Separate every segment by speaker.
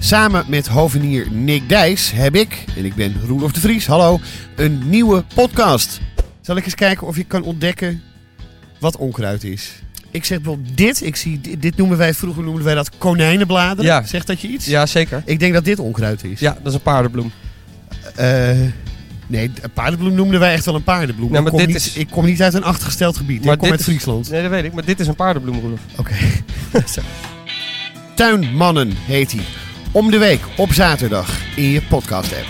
Speaker 1: Samen met hovenier Nick Dijs heb ik, en ik ben Roelof de Vries, hallo, een nieuwe podcast. Zal ik eens kijken of je kan ontdekken wat onkruid is? Ik zeg wel dit, ik zie, dit, dit noemen wij, vroeger noemden wij dat konijnenbladeren.
Speaker 2: Ja.
Speaker 1: Zegt dat je iets?
Speaker 2: Ja, zeker.
Speaker 1: Ik denk dat dit onkruid is.
Speaker 2: Ja, dat is een paardenbloem.
Speaker 1: Eh, nee, een paardenbloem noemden wij echt wel een paardenbloem.
Speaker 2: Ja, maar
Speaker 1: ik, kom
Speaker 2: dit
Speaker 1: niet,
Speaker 2: is-
Speaker 1: ik kom niet uit een achtergesteld gebied, ik kom
Speaker 2: dit
Speaker 1: uit
Speaker 2: is-
Speaker 1: Friesland.
Speaker 2: Nee, dat weet ik. Maar dit is een paardenbloem, Roelof.
Speaker 1: Oké. Tuinmannen heet hij. Om de week op zaterdag in je podcast app.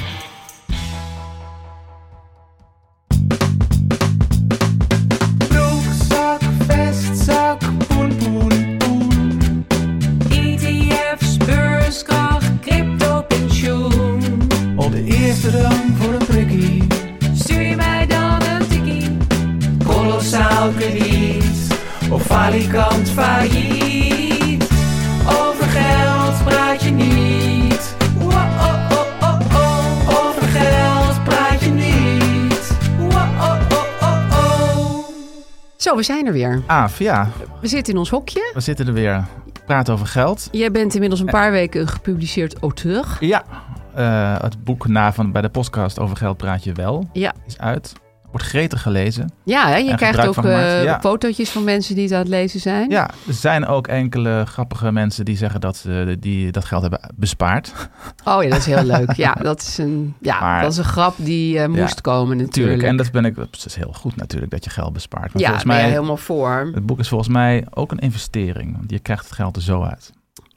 Speaker 3: Broekzak, vestzak, poen, poen, poen. E ETF's, beurskracht, crypto, pensioen. Op de eerste rang voor een prikkie. Stuur je mij dan een tikkie. Kolossaal krediet. Of falikant failliet. Over geld praat je niet. Wow, oh, oh, oh, oh. Over geld praat je niet. Wow, oh, oh, oh, oh.
Speaker 4: Zo, we zijn er weer.
Speaker 5: Aaf, ja.
Speaker 4: We zitten in ons hokje.
Speaker 5: We zitten er weer. Praat over geld.
Speaker 4: Jij bent inmiddels een paar weken een gepubliceerd auteur.
Speaker 5: Ja. Eh, het boek na van bij de podcast over geld praat je wel.
Speaker 4: Ja,
Speaker 5: Is uit. Wordt gretig gelezen.
Speaker 4: ja hè, je
Speaker 5: En
Speaker 4: krijgt
Speaker 5: gebruik
Speaker 4: ook
Speaker 5: van gemaakt,
Speaker 4: eh,
Speaker 5: ja.
Speaker 4: fotootjes van mensen die het aan het lezen zijn.
Speaker 5: Ja, er zijn ook enkele grappige mensen die zeggen dat ze die dat geld hebben bespaard.
Speaker 4: Oh ja, dat is heel leuk. Ja, dat is een, ja,
Speaker 5: Maar-
Speaker 4: dat is een grap die eh, moest komen natuurlijk.
Speaker 5: Tuurlijk. En dat ben ik. Dat is heel goed natuurlijk dat je geld bespaart. Maar
Speaker 4: ja,
Speaker 5: volgens
Speaker 4: ben
Speaker 5: mij.
Speaker 4: jij helemaal voor.
Speaker 5: Het boek is volgens mij ook een investering. Want je krijgt het geld er zo uit.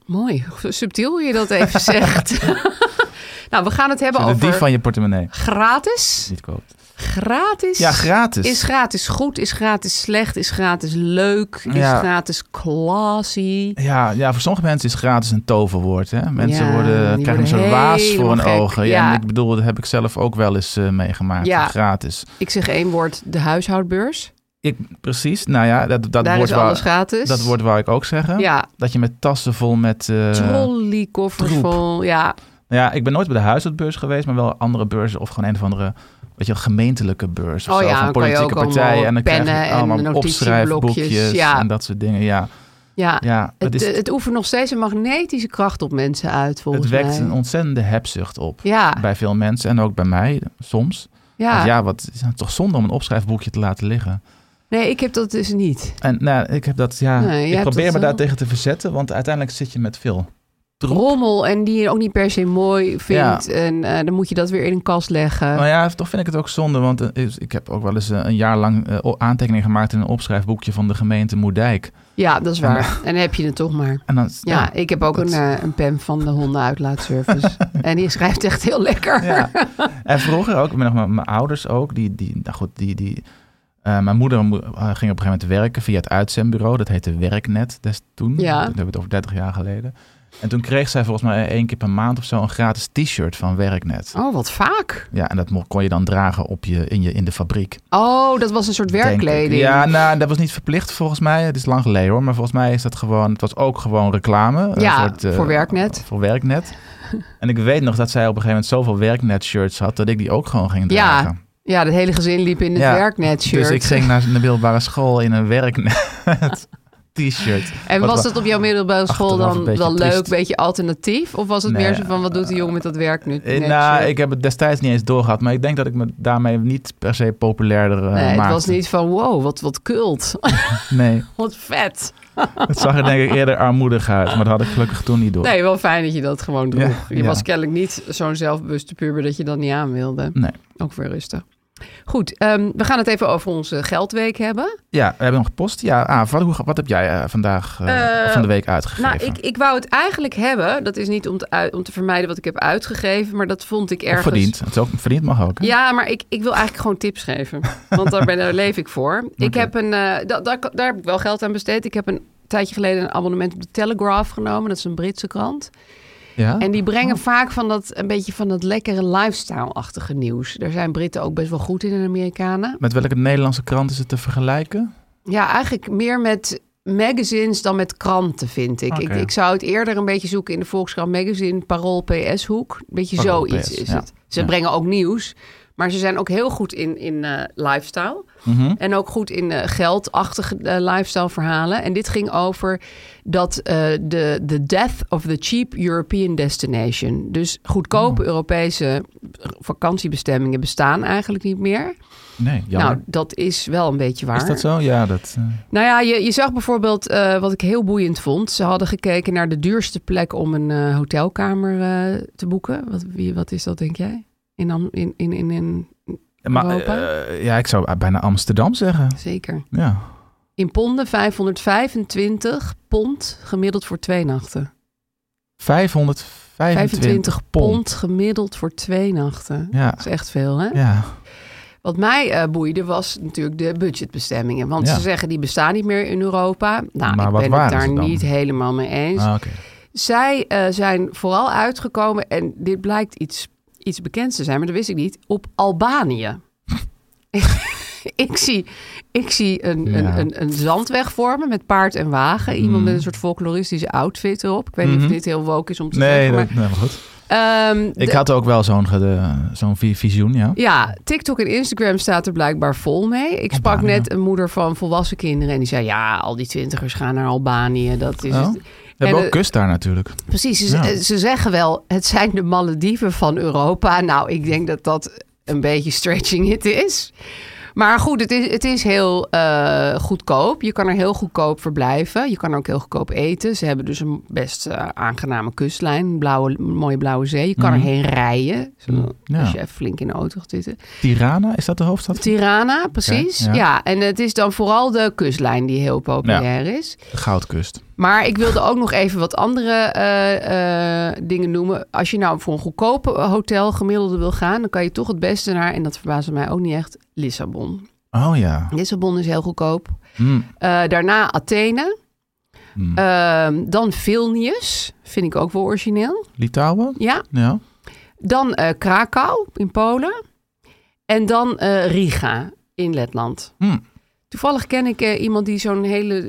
Speaker 4: Mooi, subtiel hoe je dat even zegt. nou, we gaan het hebben
Speaker 5: Zo, de
Speaker 4: over
Speaker 5: dief van je portemonnee.
Speaker 4: gratis.
Speaker 5: Niet koopt.
Speaker 4: Gratis.
Speaker 5: Ja, gratis.
Speaker 4: Is gratis goed, is gratis slecht, is gratis leuk, is
Speaker 5: Ja.
Speaker 4: gratis classy.
Speaker 5: Ja, ja, voor sommige mensen is gratis een toverwoord. Hè? Mensen
Speaker 4: Ja,
Speaker 5: worden,
Speaker 4: die
Speaker 5: krijgen een
Speaker 4: worden
Speaker 5: soort waas voor
Speaker 4: helemaal
Speaker 5: hun
Speaker 4: gek,
Speaker 5: ogen. Ja.
Speaker 4: ja.
Speaker 5: en ik bedoel, dat heb ik zelf ook wel eens eh, meegemaakt.
Speaker 4: Ja.
Speaker 5: Gratis.
Speaker 4: Ik zeg één woord, de huishoudbeurs.
Speaker 5: Ik, precies, nou ja, dat, dat,
Speaker 4: Daar
Speaker 5: woord,
Speaker 4: is alles
Speaker 5: wou,
Speaker 4: gratis.
Speaker 5: dat woord wou ik ook zeggen.
Speaker 4: Ja,
Speaker 5: Dat je met tassen vol met... eh,
Speaker 4: trolleykoffers
Speaker 5: troep.
Speaker 4: vol. Ja,
Speaker 5: nou ja, ik ben nooit bij de huisartsbeurs geweest, maar wel andere beurzen of gewoon een of andere... Weet je, gemeentelijke beurs of
Speaker 4: Oh
Speaker 5: zo,
Speaker 4: ja,
Speaker 5: van
Speaker 4: dan kan je
Speaker 5: politieke
Speaker 4: ook
Speaker 5: partijen.
Speaker 4: allemaal
Speaker 5: En dan
Speaker 4: pennen
Speaker 5: krijg je
Speaker 4: en
Speaker 5: allemaal opschrijfboekjes
Speaker 4: notitieblokjes, ja.
Speaker 5: en dat soort dingen. Ja,
Speaker 4: ja.
Speaker 5: ja dat
Speaker 4: het, eh,
Speaker 5: is,
Speaker 4: het, oefent nog steeds een magnetische kracht op mensen uit, volgens
Speaker 5: het wekt
Speaker 4: mij.
Speaker 5: een ontzettende hebzucht op.
Speaker 4: ja,
Speaker 5: Bij veel mensen en ook bij mij soms.
Speaker 4: ja.
Speaker 5: Want ja, wat is het toch zonde om een opschrijfboekje te laten liggen.
Speaker 4: Nee, ik heb dat dus niet.
Speaker 5: En nou, ik heb dat, ja,
Speaker 4: Nee, jij
Speaker 5: ik
Speaker 4: hebt eh,
Speaker 5: probeer
Speaker 4: dat
Speaker 5: me
Speaker 4: wel.
Speaker 5: daar tegen te verzetten, want uiteindelijk zit je met veel. Troep.
Speaker 4: Rommel en die je ook niet per se mooi vindt.
Speaker 5: Ja.
Speaker 4: En eh, dan moet je dat weer in een kast leggen.
Speaker 5: Maar ja, toch vind ik het ook zonde, want eh, is- ik heb ook wel eens eh, een jaar lang eh, o- aantekeningen gemaakt in een opschrijfboekje van de gemeente Moerdijk.
Speaker 4: Ja, dat is waar. En dan heb je het toch maar.
Speaker 5: En dan,
Speaker 4: Ja, ik heb ook
Speaker 5: dat-
Speaker 4: een, eh, een pen van de hondenuitlaatservice. en die schrijft echt heel lekker.
Speaker 5: Ja. En vroeger ook, ik ben nog met mijn ouders ook, die, die nou goed, die, die, eh, mijn moeder mo- eh, ging op een gegeven moment werken via het uitzendbureau. Dat heette Werknet des toen.
Speaker 4: Ja.
Speaker 5: Dat hebben we het over 30 jaar geleden. En toen kreeg zij volgens mij één keer per maand of zo een gratis t-shirt van Werknet.
Speaker 4: Oh, wat vaak.
Speaker 5: Ja, en dat mo- kon je dan dragen op je, in, je, in de fabriek.
Speaker 4: Oh, dat was een soort
Speaker 5: denk ik.
Speaker 4: werkkleding.
Speaker 5: Ja, nou, dat was niet verplicht volgens mij. Het is lang geleden hoor. Maar volgens mij is dat gewoon, het was ook gewoon reclame. Een
Speaker 4: Ja,
Speaker 5: eh,
Speaker 4: voor Werknet.
Speaker 5: Voor Werknet. En ik weet nog dat zij op een gegeven moment zoveel Werknet shirts had, dat ik die ook gewoon ging
Speaker 4: Ja,
Speaker 5: dragen.
Speaker 4: Ja, het hele gezin liep in het
Speaker 5: Ja,
Speaker 4: werknet-shirt.
Speaker 5: Dus ik ging naar de middelbare school in een werknet t-shirt.
Speaker 4: En
Speaker 5: Wat
Speaker 4: was
Speaker 5: wa-
Speaker 4: dat op jouw middelbare school
Speaker 5: achteraf
Speaker 4: dan
Speaker 5: een beetje
Speaker 4: wel
Speaker 5: triest.
Speaker 4: leuk, beetje alternatief? Of was het
Speaker 5: Nee,
Speaker 4: meer zo van, wat doet die jongen met dat werk nu?
Speaker 5: Eh,
Speaker 4: net
Speaker 5: nou,
Speaker 4: shirt?
Speaker 5: ik heb het destijds niet eens doorgehad, maar ik denk dat ik me daarmee niet per se populairder eh
Speaker 4: Nee, het
Speaker 5: maakte.
Speaker 4: was niet van, wow, wat, wat kult.
Speaker 5: Nee.
Speaker 4: wat vet.
Speaker 5: Het zag er denk ik eerder armoedig uit, maar dat had ik gelukkig toen niet door.
Speaker 4: Nee, wel fijn dat je dat gewoon droeg.
Speaker 5: Ja,
Speaker 4: je
Speaker 5: ja.
Speaker 4: was kennelijk niet zo'n zelfbewuste puber dat je dat niet aan wilde.
Speaker 5: Nee.
Speaker 4: Ook weer rustig. Goed, ehm, we gaan het even over onze geldweek hebben.
Speaker 5: Ja, we hebben nog gepost. Ja, ah, wat, hoe, wat heb jij eh, vandaag eh,
Speaker 4: Eh,
Speaker 5: van de week uitgegeven?
Speaker 4: Nou, ik, ik wou het eigenlijk hebben. Dat is niet om te, uit- om te vermijden wat ik heb uitgegeven, maar dat vond ik
Speaker 5: Of
Speaker 4: ergens...
Speaker 5: verdiend. Het is ook, verdiend mag ook. hè?
Speaker 4: Ja, maar ik, ik wil eigenlijk gewoon tips geven. Want daar, ben, daar leef ik voor. Ik
Speaker 5: Oké.
Speaker 4: heb een, eh, da- daar, daar heb ik wel geld aan besteed. Ik heb een tijdje geleden een abonnement op de Telegraph genomen. Dat is een Britse krant.
Speaker 5: Ja?
Speaker 4: En die brengen
Speaker 5: Oh.
Speaker 4: vaak van dat, een beetje van dat lekkere lifestyle-achtige nieuws. Daar zijn Britten ook best wel goed in, en Amerikanen.
Speaker 5: Met welke Nederlandse krant is het te vergelijken?
Speaker 4: Ja, eigenlijk meer met magazines dan met kranten, vind ik.
Speaker 5: Oké.
Speaker 4: Ik, ik zou het eerder een beetje zoeken in de Volkskrant Magazine, Parool PS-hoek. Een beetje
Speaker 5: Parool
Speaker 4: zoiets
Speaker 5: PS,
Speaker 4: is
Speaker 5: ja.
Speaker 4: het. Ze
Speaker 5: Ja.
Speaker 4: brengen ook nieuws, maar ze zijn ook heel goed in, in eh, lifestyle.
Speaker 5: Mhm.
Speaker 4: En ook goed in eh, geldachtige eh, lifestyle verhalen. En dit ging over dat eh, de the death of the cheap European destination. Dus goedkope
Speaker 5: Hmm.
Speaker 4: Europese vakantiebestemmingen bestaan eigenlijk niet meer.
Speaker 5: Nee, jammer.
Speaker 4: Nou, dat is wel een beetje waar.
Speaker 5: is dat zo? Ja, dat... eh,
Speaker 4: Nou ja, je, je zag bijvoorbeeld, eh, wat ik heel boeiend vond. Ze hadden gekeken naar de duurste plek om een eh, hotelkamer eh, te boeken. Wat, wie, wat is dat, denk jij? In, Am- in, in, in, in,
Speaker 5: maar,
Speaker 4: Europa?
Speaker 5: eh, ja, ik zou bijna Amsterdam zeggen.
Speaker 4: zeker.
Speaker 5: Ja.
Speaker 4: In ponden 525 pond gemiddeld voor twee nachten.
Speaker 5: 525
Speaker 4: 25
Speaker 5: pond.
Speaker 4: pond gemiddeld voor twee nachten.
Speaker 5: Ja.
Speaker 4: Dat is echt veel, hè?
Speaker 5: Ja.
Speaker 4: Wat mij eh, boeide was natuurlijk de budgetbestemmingen. Want
Speaker 5: Ja.
Speaker 4: ze zeggen die bestaan niet meer in Europa. Nou,
Speaker 5: Maar
Speaker 4: ik
Speaker 5: wat
Speaker 4: ben
Speaker 5: waren
Speaker 4: het
Speaker 5: ze
Speaker 4: daar
Speaker 5: dan?
Speaker 4: niet helemaal mee eens.
Speaker 5: Ah, oké.
Speaker 4: Zij eh, zijn vooral uitgekomen, en dit blijkt iets, iets bekends te zijn, maar dat wist ik niet, op Albanië. ik zie, ik zie een,
Speaker 5: Ja.
Speaker 4: een, een, een zandweg vormen met paard en wagen. Iemand
Speaker 5: Mm.
Speaker 4: met een soort folkloristische outfit erop. Ik weet niet
Speaker 5: Mhm.
Speaker 4: of dit heel woke is om te
Speaker 5: Nee,
Speaker 4: zeggen,
Speaker 5: dat,
Speaker 4: maar...
Speaker 5: nee, maar goed.
Speaker 4: ehm, de-
Speaker 5: Ik had ook wel zo'n ge- zo'n vi- visioen, ja.
Speaker 4: ja, TikTok en Instagram staat er blijkbaar vol mee. Ik sprak
Speaker 5: Albanië.
Speaker 4: net een moeder van volwassen kinderen en die zei... ja, al die twintigers gaan naar Albanië, dat is
Speaker 5: Oh.
Speaker 4: het.
Speaker 5: We
Speaker 4: En,
Speaker 5: hebben ook
Speaker 4: eh,
Speaker 5: kust daar natuurlijk.
Speaker 4: Precies, ze,
Speaker 5: Ja.
Speaker 4: eh, ze zeggen wel, het zijn de Malediven van Europa. Nou, ik denk dat dat een beetje stretching it is. Maar goed, het is, het is heel eh, goedkoop. Je kan er heel goedkoop verblijven. Je kan ook heel goedkoop eten. Ze hebben dus een best eh, aangename kustlijn. Een Blauwe, een mooie blauwe zee. Je kan
Speaker 5: Mhm.
Speaker 4: erheen rijden. Zo,
Speaker 5: Ja.
Speaker 4: Als je even flink in de auto gaat zitten.
Speaker 5: Tirana, is dat de hoofdstad?
Speaker 4: Tirana, precies.
Speaker 5: ja.
Speaker 4: ja. en het is dan vooral de kustlijn die heel populair is.
Speaker 5: De Goudkust.
Speaker 4: Maar ik wilde ook nog even wat andere eh, eh, dingen noemen. Als je nou voor een goedkope hotel gemiddelde wil gaan, dan kan je toch het beste naar, en dat verbaasde mij ook niet echt, Lissabon.
Speaker 5: Oh ja.
Speaker 4: Lissabon is heel goedkoop.
Speaker 5: Hm,
Speaker 4: Eh, daarna Athene.
Speaker 5: hm.
Speaker 4: Ehm, dan Vilnius, vind ik ook wel origineel.
Speaker 5: Litouwen?
Speaker 4: Ja.
Speaker 5: Ja.
Speaker 4: Dan eh, Krakau in Polen. En dan eh, Riga in Letland.
Speaker 5: Hm.
Speaker 4: Toevallig ken ik eh, iemand die zo'n hele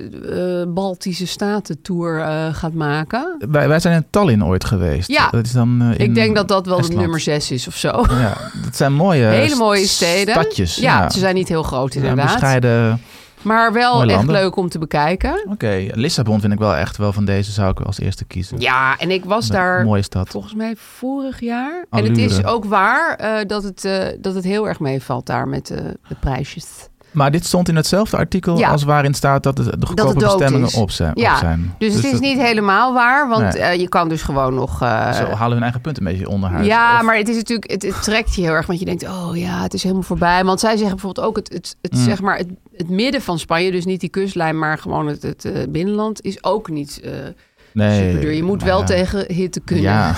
Speaker 4: eh, Baltische Staten-tour eh, gaat maken.
Speaker 5: Wij, wij zijn in Tallinn ooit geweest.
Speaker 4: Ja.
Speaker 5: Dat is dan, eh, in
Speaker 4: Ik denk dat dat wel de
Speaker 5: Estland.
Speaker 4: nummer 6 is of zo.
Speaker 5: Ja, dat zijn mooie
Speaker 4: Hele mooie
Speaker 5: st-
Speaker 4: steden.
Speaker 5: Stadjes.
Speaker 4: Ja, ze zijn niet heel groot
Speaker 5: Ja,
Speaker 4: inderdaad.
Speaker 5: bescheiden.
Speaker 4: maar wel
Speaker 5: mooie
Speaker 4: echt
Speaker 5: landen.
Speaker 4: leuk om te bekijken.
Speaker 5: Oké, Lissabon vind ik wel echt wel van deze zou ik als eerste kiezen.
Speaker 4: Ja, en ik was
Speaker 5: Een
Speaker 4: daar
Speaker 5: Mooie stad.
Speaker 4: volgens mij vorig jaar. En
Speaker 5: Allure.
Speaker 4: het is ook waar eh, dat, het, eh, dat het heel erg meevalt daar met eh, de prijsjes.
Speaker 5: Maar dit stond in hetzelfde artikel
Speaker 4: Ja.
Speaker 5: als waarin staat dat de, de goedkope
Speaker 4: het dood
Speaker 5: bestemmingen
Speaker 4: is.
Speaker 5: op zijn.
Speaker 4: Ja,
Speaker 5: op zijn.
Speaker 4: Dus, het is
Speaker 5: dat-
Speaker 4: niet helemaal waar, want
Speaker 5: Nee.
Speaker 4: eh, je kan dus gewoon nog... eh,
Speaker 5: Zo halen we hun eigen punt een beetje onderhuis.
Speaker 4: ja,
Speaker 5: Of-
Speaker 4: maar het is natuurlijk, het, het trekt je heel erg, want je denkt, oh ja, het is helemaal voorbij. Want zij zeggen bijvoorbeeld ook, het, het, het,
Speaker 5: Mm.
Speaker 4: zeg maar, het, het midden van Spanje, dus niet die kustlijn, maar gewoon het, het eh, binnenland, is ook niet eh,
Speaker 5: nee,
Speaker 4: superduur. Je moet
Speaker 5: nou
Speaker 4: wel
Speaker 5: ja.
Speaker 4: tegen hitte kunnen.
Speaker 5: Ja.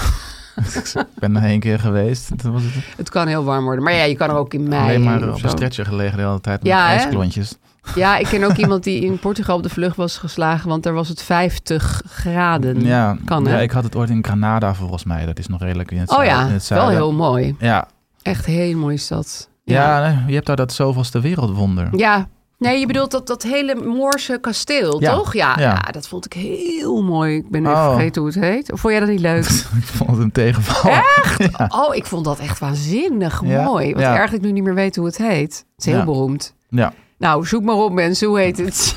Speaker 5: ik ben er één keer geweest. Toen was het
Speaker 4: Het kan heel warm worden. Maar ja, je kan er ook in mei.
Speaker 5: alleen maar
Speaker 4: heen of
Speaker 5: op een
Speaker 4: zo.
Speaker 5: stretcher gelegen de hele tijd met
Speaker 4: Ja, hè?
Speaker 5: ijsklontjes.
Speaker 4: Ja, ik ken ook iemand die in Portugal op de vlucht was geslagen, want daar was het 50 graden.
Speaker 5: Ja,
Speaker 4: Kan, hè?
Speaker 5: ja, ik had het ooit in Granada volgens mij. Dat is nog redelijk in het
Speaker 4: oh
Speaker 5: zuiden.
Speaker 4: ja,
Speaker 5: in het
Speaker 4: wel
Speaker 5: zuiden.
Speaker 4: heel mooi.
Speaker 5: Ja,
Speaker 4: Echt een hele mooie stad.
Speaker 5: ja. nee, je hebt daar dat zoveelste wereldwonder.
Speaker 4: Ja. Nee, je bedoelt dat, dat hele Moorse kasteel,
Speaker 5: Ja,
Speaker 4: toch? Ja,
Speaker 5: ja.
Speaker 4: ja. dat vond ik heel mooi. Ik ben even
Speaker 5: Oh.
Speaker 4: vergeten hoe het heet. Of vond jij dat niet leuk?
Speaker 5: ik vond het een tegenval.
Speaker 4: Oh, ik vond dat echt waanzinnig
Speaker 5: Ja,
Speaker 4: mooi. Wat
Speaker 5: ja.
Speaker 4: erg dat ik nu niet meer weet hoe het heet. Het is heel
Speaker 5: Ja.
Speaker 4: beroemd.
Speaker 5: Ja.
Speaker 4: Nou, zoek maar op mensen, hoe heet het?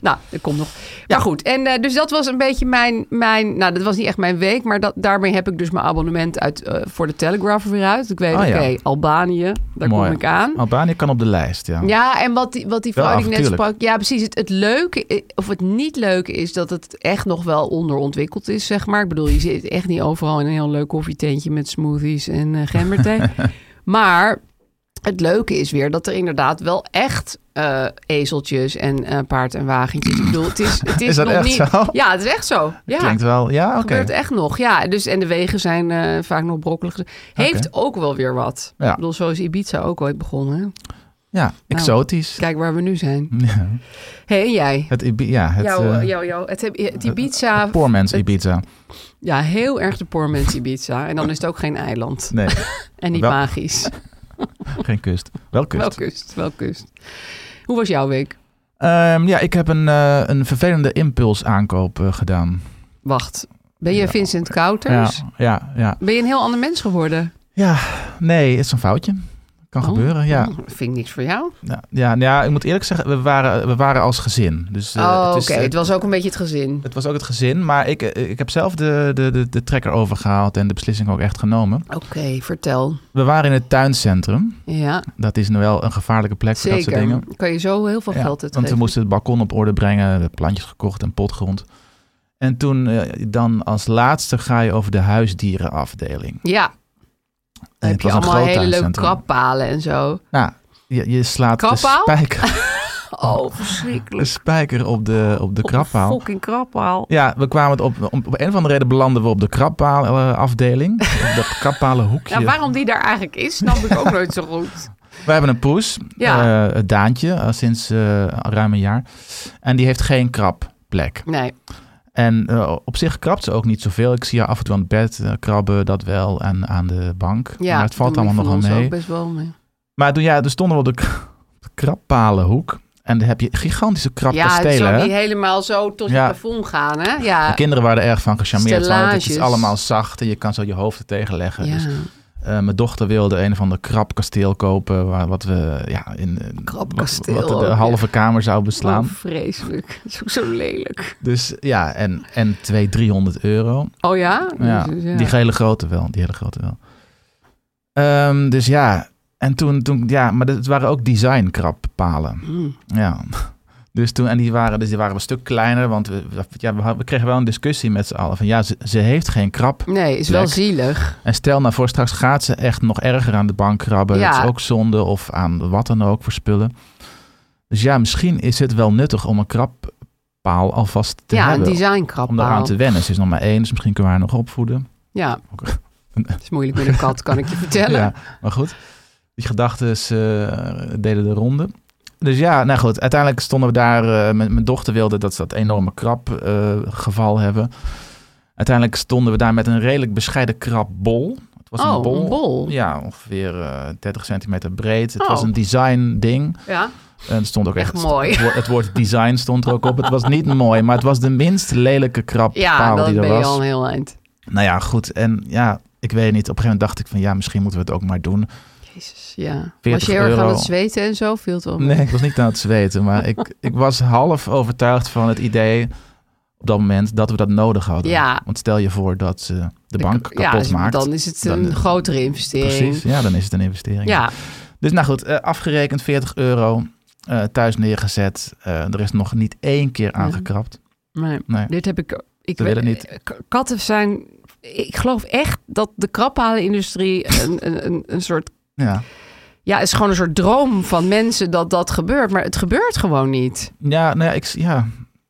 Speaker 4: nou, er komt nog. Maar goed, en eh, dus dat was een beetje mijn, mijn... Nou, dat was niet echt mijn week, maar dat, daarmee heb ik dus mijn abonnement uit, eh, voor de Telegraph weer uit. Ik weet,
Speaker 5: Ah,
Speaker 4: oké,
Speaker 5: ja.
Speaker 4: Albanië, daar
Speaker 5: Mooi.
Speaker 4: kom ik aan.
Speaker 5: Albanië kan op de lijst, ja.
Speaker 4: Ja, en wat die, wat die
Speaker 5: Wel
Speaker 4: verhouding net
Speaker 5: avontuurlijk.
Speaker 4: sprak. Ja, precies. Het, het leuke, eh, of het niet leuke is dat het echt nog wel onderontwikkeld is, zeg maar. Ik bedoel, je zit echt niet overal in een heel leuk koffietentje met smoothies en eh gemberthee. maar het leuke is weer dat er inderdaad wel echt eh, ezeltjes en eh, paard en wagentjes. Ik bedoel, het is, het is,
Speaker 5: Is dat
Speaker 4: nog
Speaker 5: echt
Speaker 4: niet...
Speaker 5: zo?
Speaker 4: Ja, het is echt zo. Ja.
Speaker 5: Klinkt wel, ja, oké.
Speaker 4: Gebeurt echt nog, ja. Dus, en de wegen zijn eh, vaak nog brokkelig. Heeft ook wel weer wat.
Speaker 5: Ja.
Speaker 4: Ik bedoel, zo is Ibiza ook ooit begonnen. hè?
Speaker 5: Ja,
Speaker 4: Nou.
Speaker 5: exotisch.
Speaker 4: Kijk waar we nu zijn.
Speaker 5: Ja,
Speaker 4: Hé, en jij?
Speaker 5: het Ibi- ja, het,
Speaker 4: jouw,
Speaker 5: eh,
Speaker 4: jouw, jouw, het, heb- het Ibiza...
Speaker 5: het poor man's Ibiza.
Speaker 4: ja, heel erg de poor man's Ibiza. En dan is het ook geen eiland.
Speaker 5: Nee,
Speaker 4: En niet
Speaker 5: Wel-
Speaker 4: magisch.
Speaker 5: geen kust. Wel kust.
Speaker 4: Wel kust, wel kust. Hoe was jouw week?
Speaker 5: Ehm, ja, ik heb een, eh, een vervelende impuls aankoop eh, gedaan.
Speaker 4: Wacht, ben je
Speaker 5: Ja.
Speaker 4: Vincent
Speaker 5: Ja,
Speaker 4: Kouters?
Speaker 5: ja, ja.
Speaker 4: Ben je een heel ander mens geworden?
Speaker 5: Ja, nee, het is een foutje. Kan
Speaker 4: Oh,
Speaker 5: gebeuren, ja.
Speaker 4: oh, vind ik niks voor jou.
Speaker 5: Ja, ja, nou ja, ik moet eerlijk zeggen, we waren, we waren als gezin. Dus, eh,
Speaker 4: oh, oké.
Speaker 5: het is, eh,
Speaker 4: Het was ook een beetje het gezin.
Speaker 5: het was ook het gezin, maar ik, eh, ik heb zelf de, de, de, de trekker overgehaald en de beslissing ook echt genomen.
Speaker 4: Oké, vertel.
Speaker 5: We waren in het tuincentrum.
Speaker 4: Ja,
Speaker 5: Dat is nu wel een gevaarlijke plek voor dat soort
Speaker 4: zeker.
Speaker 5: dingen.
Speaker 4: Kan je zo heel veel
Speaker 5: Ja,
Speaker 4: geld uit
Speaker 5: Want we moesten het balkon op orde brengen, we plantjes gekocht en potgrond. En toen eh, dan als laatste ga je over de huisdierenafdeling.
Speaker 4: Ja,
Speaker 5: En
Speaker 4: dan heb
Speaker 5: het
Speaker 4: je
Speaker 5: was een
Speaker 4: allemaal
Speaker 5: groot
Speaker 4: hele leuke
Speaker 5: tuincentrum.
Speaker 4: krappalen en zo.
Speaker 5: Nou, je, je slaat de
Speaker 4: Krabpaal?
Speaker 5: spijker,
Speaker 4: Oh,
Speaker 5: de
Speaker 4: verschrikkelijk.
Speaker 5: spijker op de, op de krabpaal.
Speaker 4: Fucking krappaal.
Speaker 5: Ja, we kwamen het op, op, op een of andere reden belanden we op de krabbaalafdeling. op dat krabbaalenhoekje.
Speaker 4: Ja, Nou, waarom die daar eigenlijk is, snap ik ook nooit zo goed.
Speaker 5: We hebben een poes,
Speaker 4: Ja.
Speaker 5: eh, Daantje, al sinds eh, ruim een jaar. En die heeft geen krabplek.
Speaker 4: Nee,
Speaker 5: En eh, op zich krabt ze ook niet zoveel. Ik zie haar af en toe aan het bed eh, krabben, dat wel, en aan de bank.
Speaker 4: ja.
Speaker 5: maar het valt
Speaker 4: doen die
Speaker 5: allemaal nog
Speaker 4: van
Speaker 5: wel
Speaker 4: ons
Speaker 5: mee.
Speaker 4: ook best wel mee.
Speaker 5: Maar toen, ja, toen stonden we op de, k- de krabpalenhoek. En dan heb je gigantische
Speaker 4: ja, het
Speaker 5: krabkastelen.
Speaker 4: zal
Speaker 5: hè?
Speaker 4: niet helemaal zo tot je
Speaker 5: Ja.
Speaker 4: plafond gaan, hè? Ja.
Speaker 5: De kinderen waren er erg van gecharmeerd. Want het is
Speaker 4: Stellages.
Speaker 5: allemaal zacht en je kan zo je hoofd er tegen leggen. Dus,
Speaker 4: ja.
Speaker 5: eh, mijn dochter wilde een of ander krabkasteel kopen. Waar, wat we ja, in eh,
Speaker 4: Krabkasteel
Speaker 5: Wat, wat
Speaker 4: ook,
Speaker 5: de
Speaker 4: ja.
Speaker 5: halve kamer zou beslaan.
Speaker 4: Oh, vreselijk. Dat is ook zo lelijk.
Speaker 5: Dus ja, en, en 200, 300 euro.
Speaker 4: Oh ja?
Speaker 5: Ja,
Speaker 4: Jezus, ja.
Speaker 5: die hele grote wel, die hele grote wel. Ehm, dus ja, en toen, toen ja, maar dat- het waren ook design krabpalen.
Speaker 4: Hmm.
Speaker 5: Ja. Dus toen, en die waren, dus die waren een stuk kleiner, want we, we- ja, we, had- we kregen wel een discussie met z'n allen. Van ja, ze, ze heeft geen krab.
Speaker 4: Nee, is wel
Speaker 5: Lek.
Speaker 4: zielig.
Speaker 5: En stel nou voor, straks gaat ze echt nog erger aan de bank krabben.
Speaker 4: Ja.
Speaker 5: Dat is ook zonde, of aan wat dan ook voor spullen. Dus ja, misschien is het wel nuttig om een krabpaal alvast te
Speaker 4: ja,
Speaker 5: hebben.
Speaker 4: een
Speaker 5: om daaraan
Speaker 4: designkrappaal.
Speaker 5: te wennen. Ze is nog maar één, dus misschien kunnen we haar nog opvoeden.
Speaker 4: Ja. Het is moeilijk met een kat, kan ik je vertellen.
Speaker 5: Ja, maar goed. Die gedachten deden de ronde. Dus ja, nou goed. Uiteindelijk stonden we daar. eh, mijn, mijn dochter wilde dat ze dat enorme krab eh, geval hebben. Uiteindelijk stonden we daar met een redelijk bescheiden krabbol. Het was
Speaker 4: oh,
Speaker 5: een bol.
Speaker 4: een bol. Ja.
Speaker 5: Ja, ongeveer eh, 30 centimeter breed. Het
Speaker 4: Oh.
Speaker 5: was een design ding. En het stond ook echt,
Speaker 4: Echt mooi.
Speaker 5: Het, woord, het woord design stond er ook op. Het was niet mooi, maar het was de minst lelijke krab
Speaker 4: Ja, dan
Speaker 5: die er
Speaker 4: ben
Speaker 5: was.
Speaker 4: je al een heel eind.
Speaker 5: Nou ja, goed. En ja, ik weet niet. Op een gegeven moment dacht ik van ja, misschien moeten we het ook maar doen.
Speaker 4: Jezus, Dus ja. Was
Speaker 5: 40
Speaker 4: je heel erg aan
Speaker 5: euro.
Speaker 4: het zweten en zo? Viel het wel mee?
Speaker 5: Nee, ik was niet aan het zweten, maar ik, ik was half overtuigd van het idee op dat moment dat we dat nodig hadden.
Speaker 4: Ja.
Speaker 5: Want stel je voor dat ze de, bank
Speaker 4: k- ja,
Speaker 5: kapot
Speaker 4: dus
Speaker 5: maakt.
Speaker 4: Dan is het
Speaker 5: Dan
Speaker 4: een
Speaker 5: is-
Speaker 4: grotere investering.
Speaker 5: Precies, ja, dan is het een investering.
Speaker 4: Ja,
Speaker 5: Dus nou goed, eh, afgerekend 40 euro, eh, thuis neergezet. Eh, er is nog niet één keer aangekrapt.
Speaker 4: maar
Speaker 5: Nee.
Speaker 4: dit heb ik... Mhm. ik
Speaker 5: Ze
Speaker 4: weet-
Speaker 5: willen niet.
Speaker 4: k- Katten zijn... Ik geloof echt dat de krabhalenindustrie een, een, een, een soort...
Speaker 5: Ja.
Speaker 4: Ja, is gewoon een soort droom van mensen dat dat gebeurt. Maar het gebeurt gewoon niet.
Speaker 5: Ja, nou ja, ik, ja,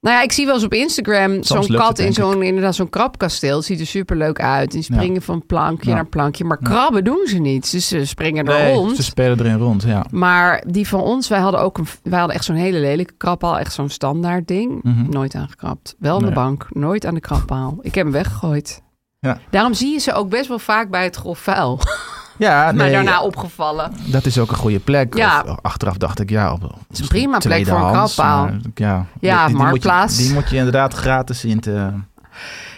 Speaker 4: Nou ja, ik zie wel eens op Instagram
Speaker 5: Soms
Speaker 4: zo'n
Speaker 5: lukt
Speaker 4: kat
Speaker 5: het,
Speaker 4: in
Speaker 5: denk
Speaker 4: zo'n inderdaad zo'n krabkasteel. Het ziet er superleuk uit. En springen van plankje
Speaker 5: Ja.
Speaker 4: naar plankje. Maar krabben doen ze niet. Dus ze springen er
Speaker 5: Nee,
Speaker 4: rond.
Speaker 5: ze spelen erin rond. Ja.
Speaker 4: Maar die van ons, wij hadden ook een, wij hadden echt zo'n hele lelijke krabpaal. Echt zo'n standaard ding.
Speaker 5: Mhm.
Speaker 4: Nooit aangekrapt. Wel aan
Speaker 5: Nee.
Speaker 4: de bank, nooit aan de krabpaal. Ik heb hem weggegooid.
Speaker 5: Ja.
Speaker 4: Daarom zie je ze ook best wel vaak bij het grof vuil.
Speaker 5: Ja,
Speaker 4: maar
Speaker 5: nee,
Speaker 4: daarna opgevallen.
Speaker 5: dat is ook een goede plek.
Speaker 4: Ja.
Speaker 5: Of, achteraf dacht ik, ja, op, op-
Speaker 4: is een prima plek
Speaker 5: tweedehands,
Speaker 4: voor een krabpaal.
Speaker 5: maar, Ja,
Speaker 4: Ja,
Speaker 5: moet je-
Speaker 4: Marktplaats.
Speaker 5: die moet je inderdaad gratis in te...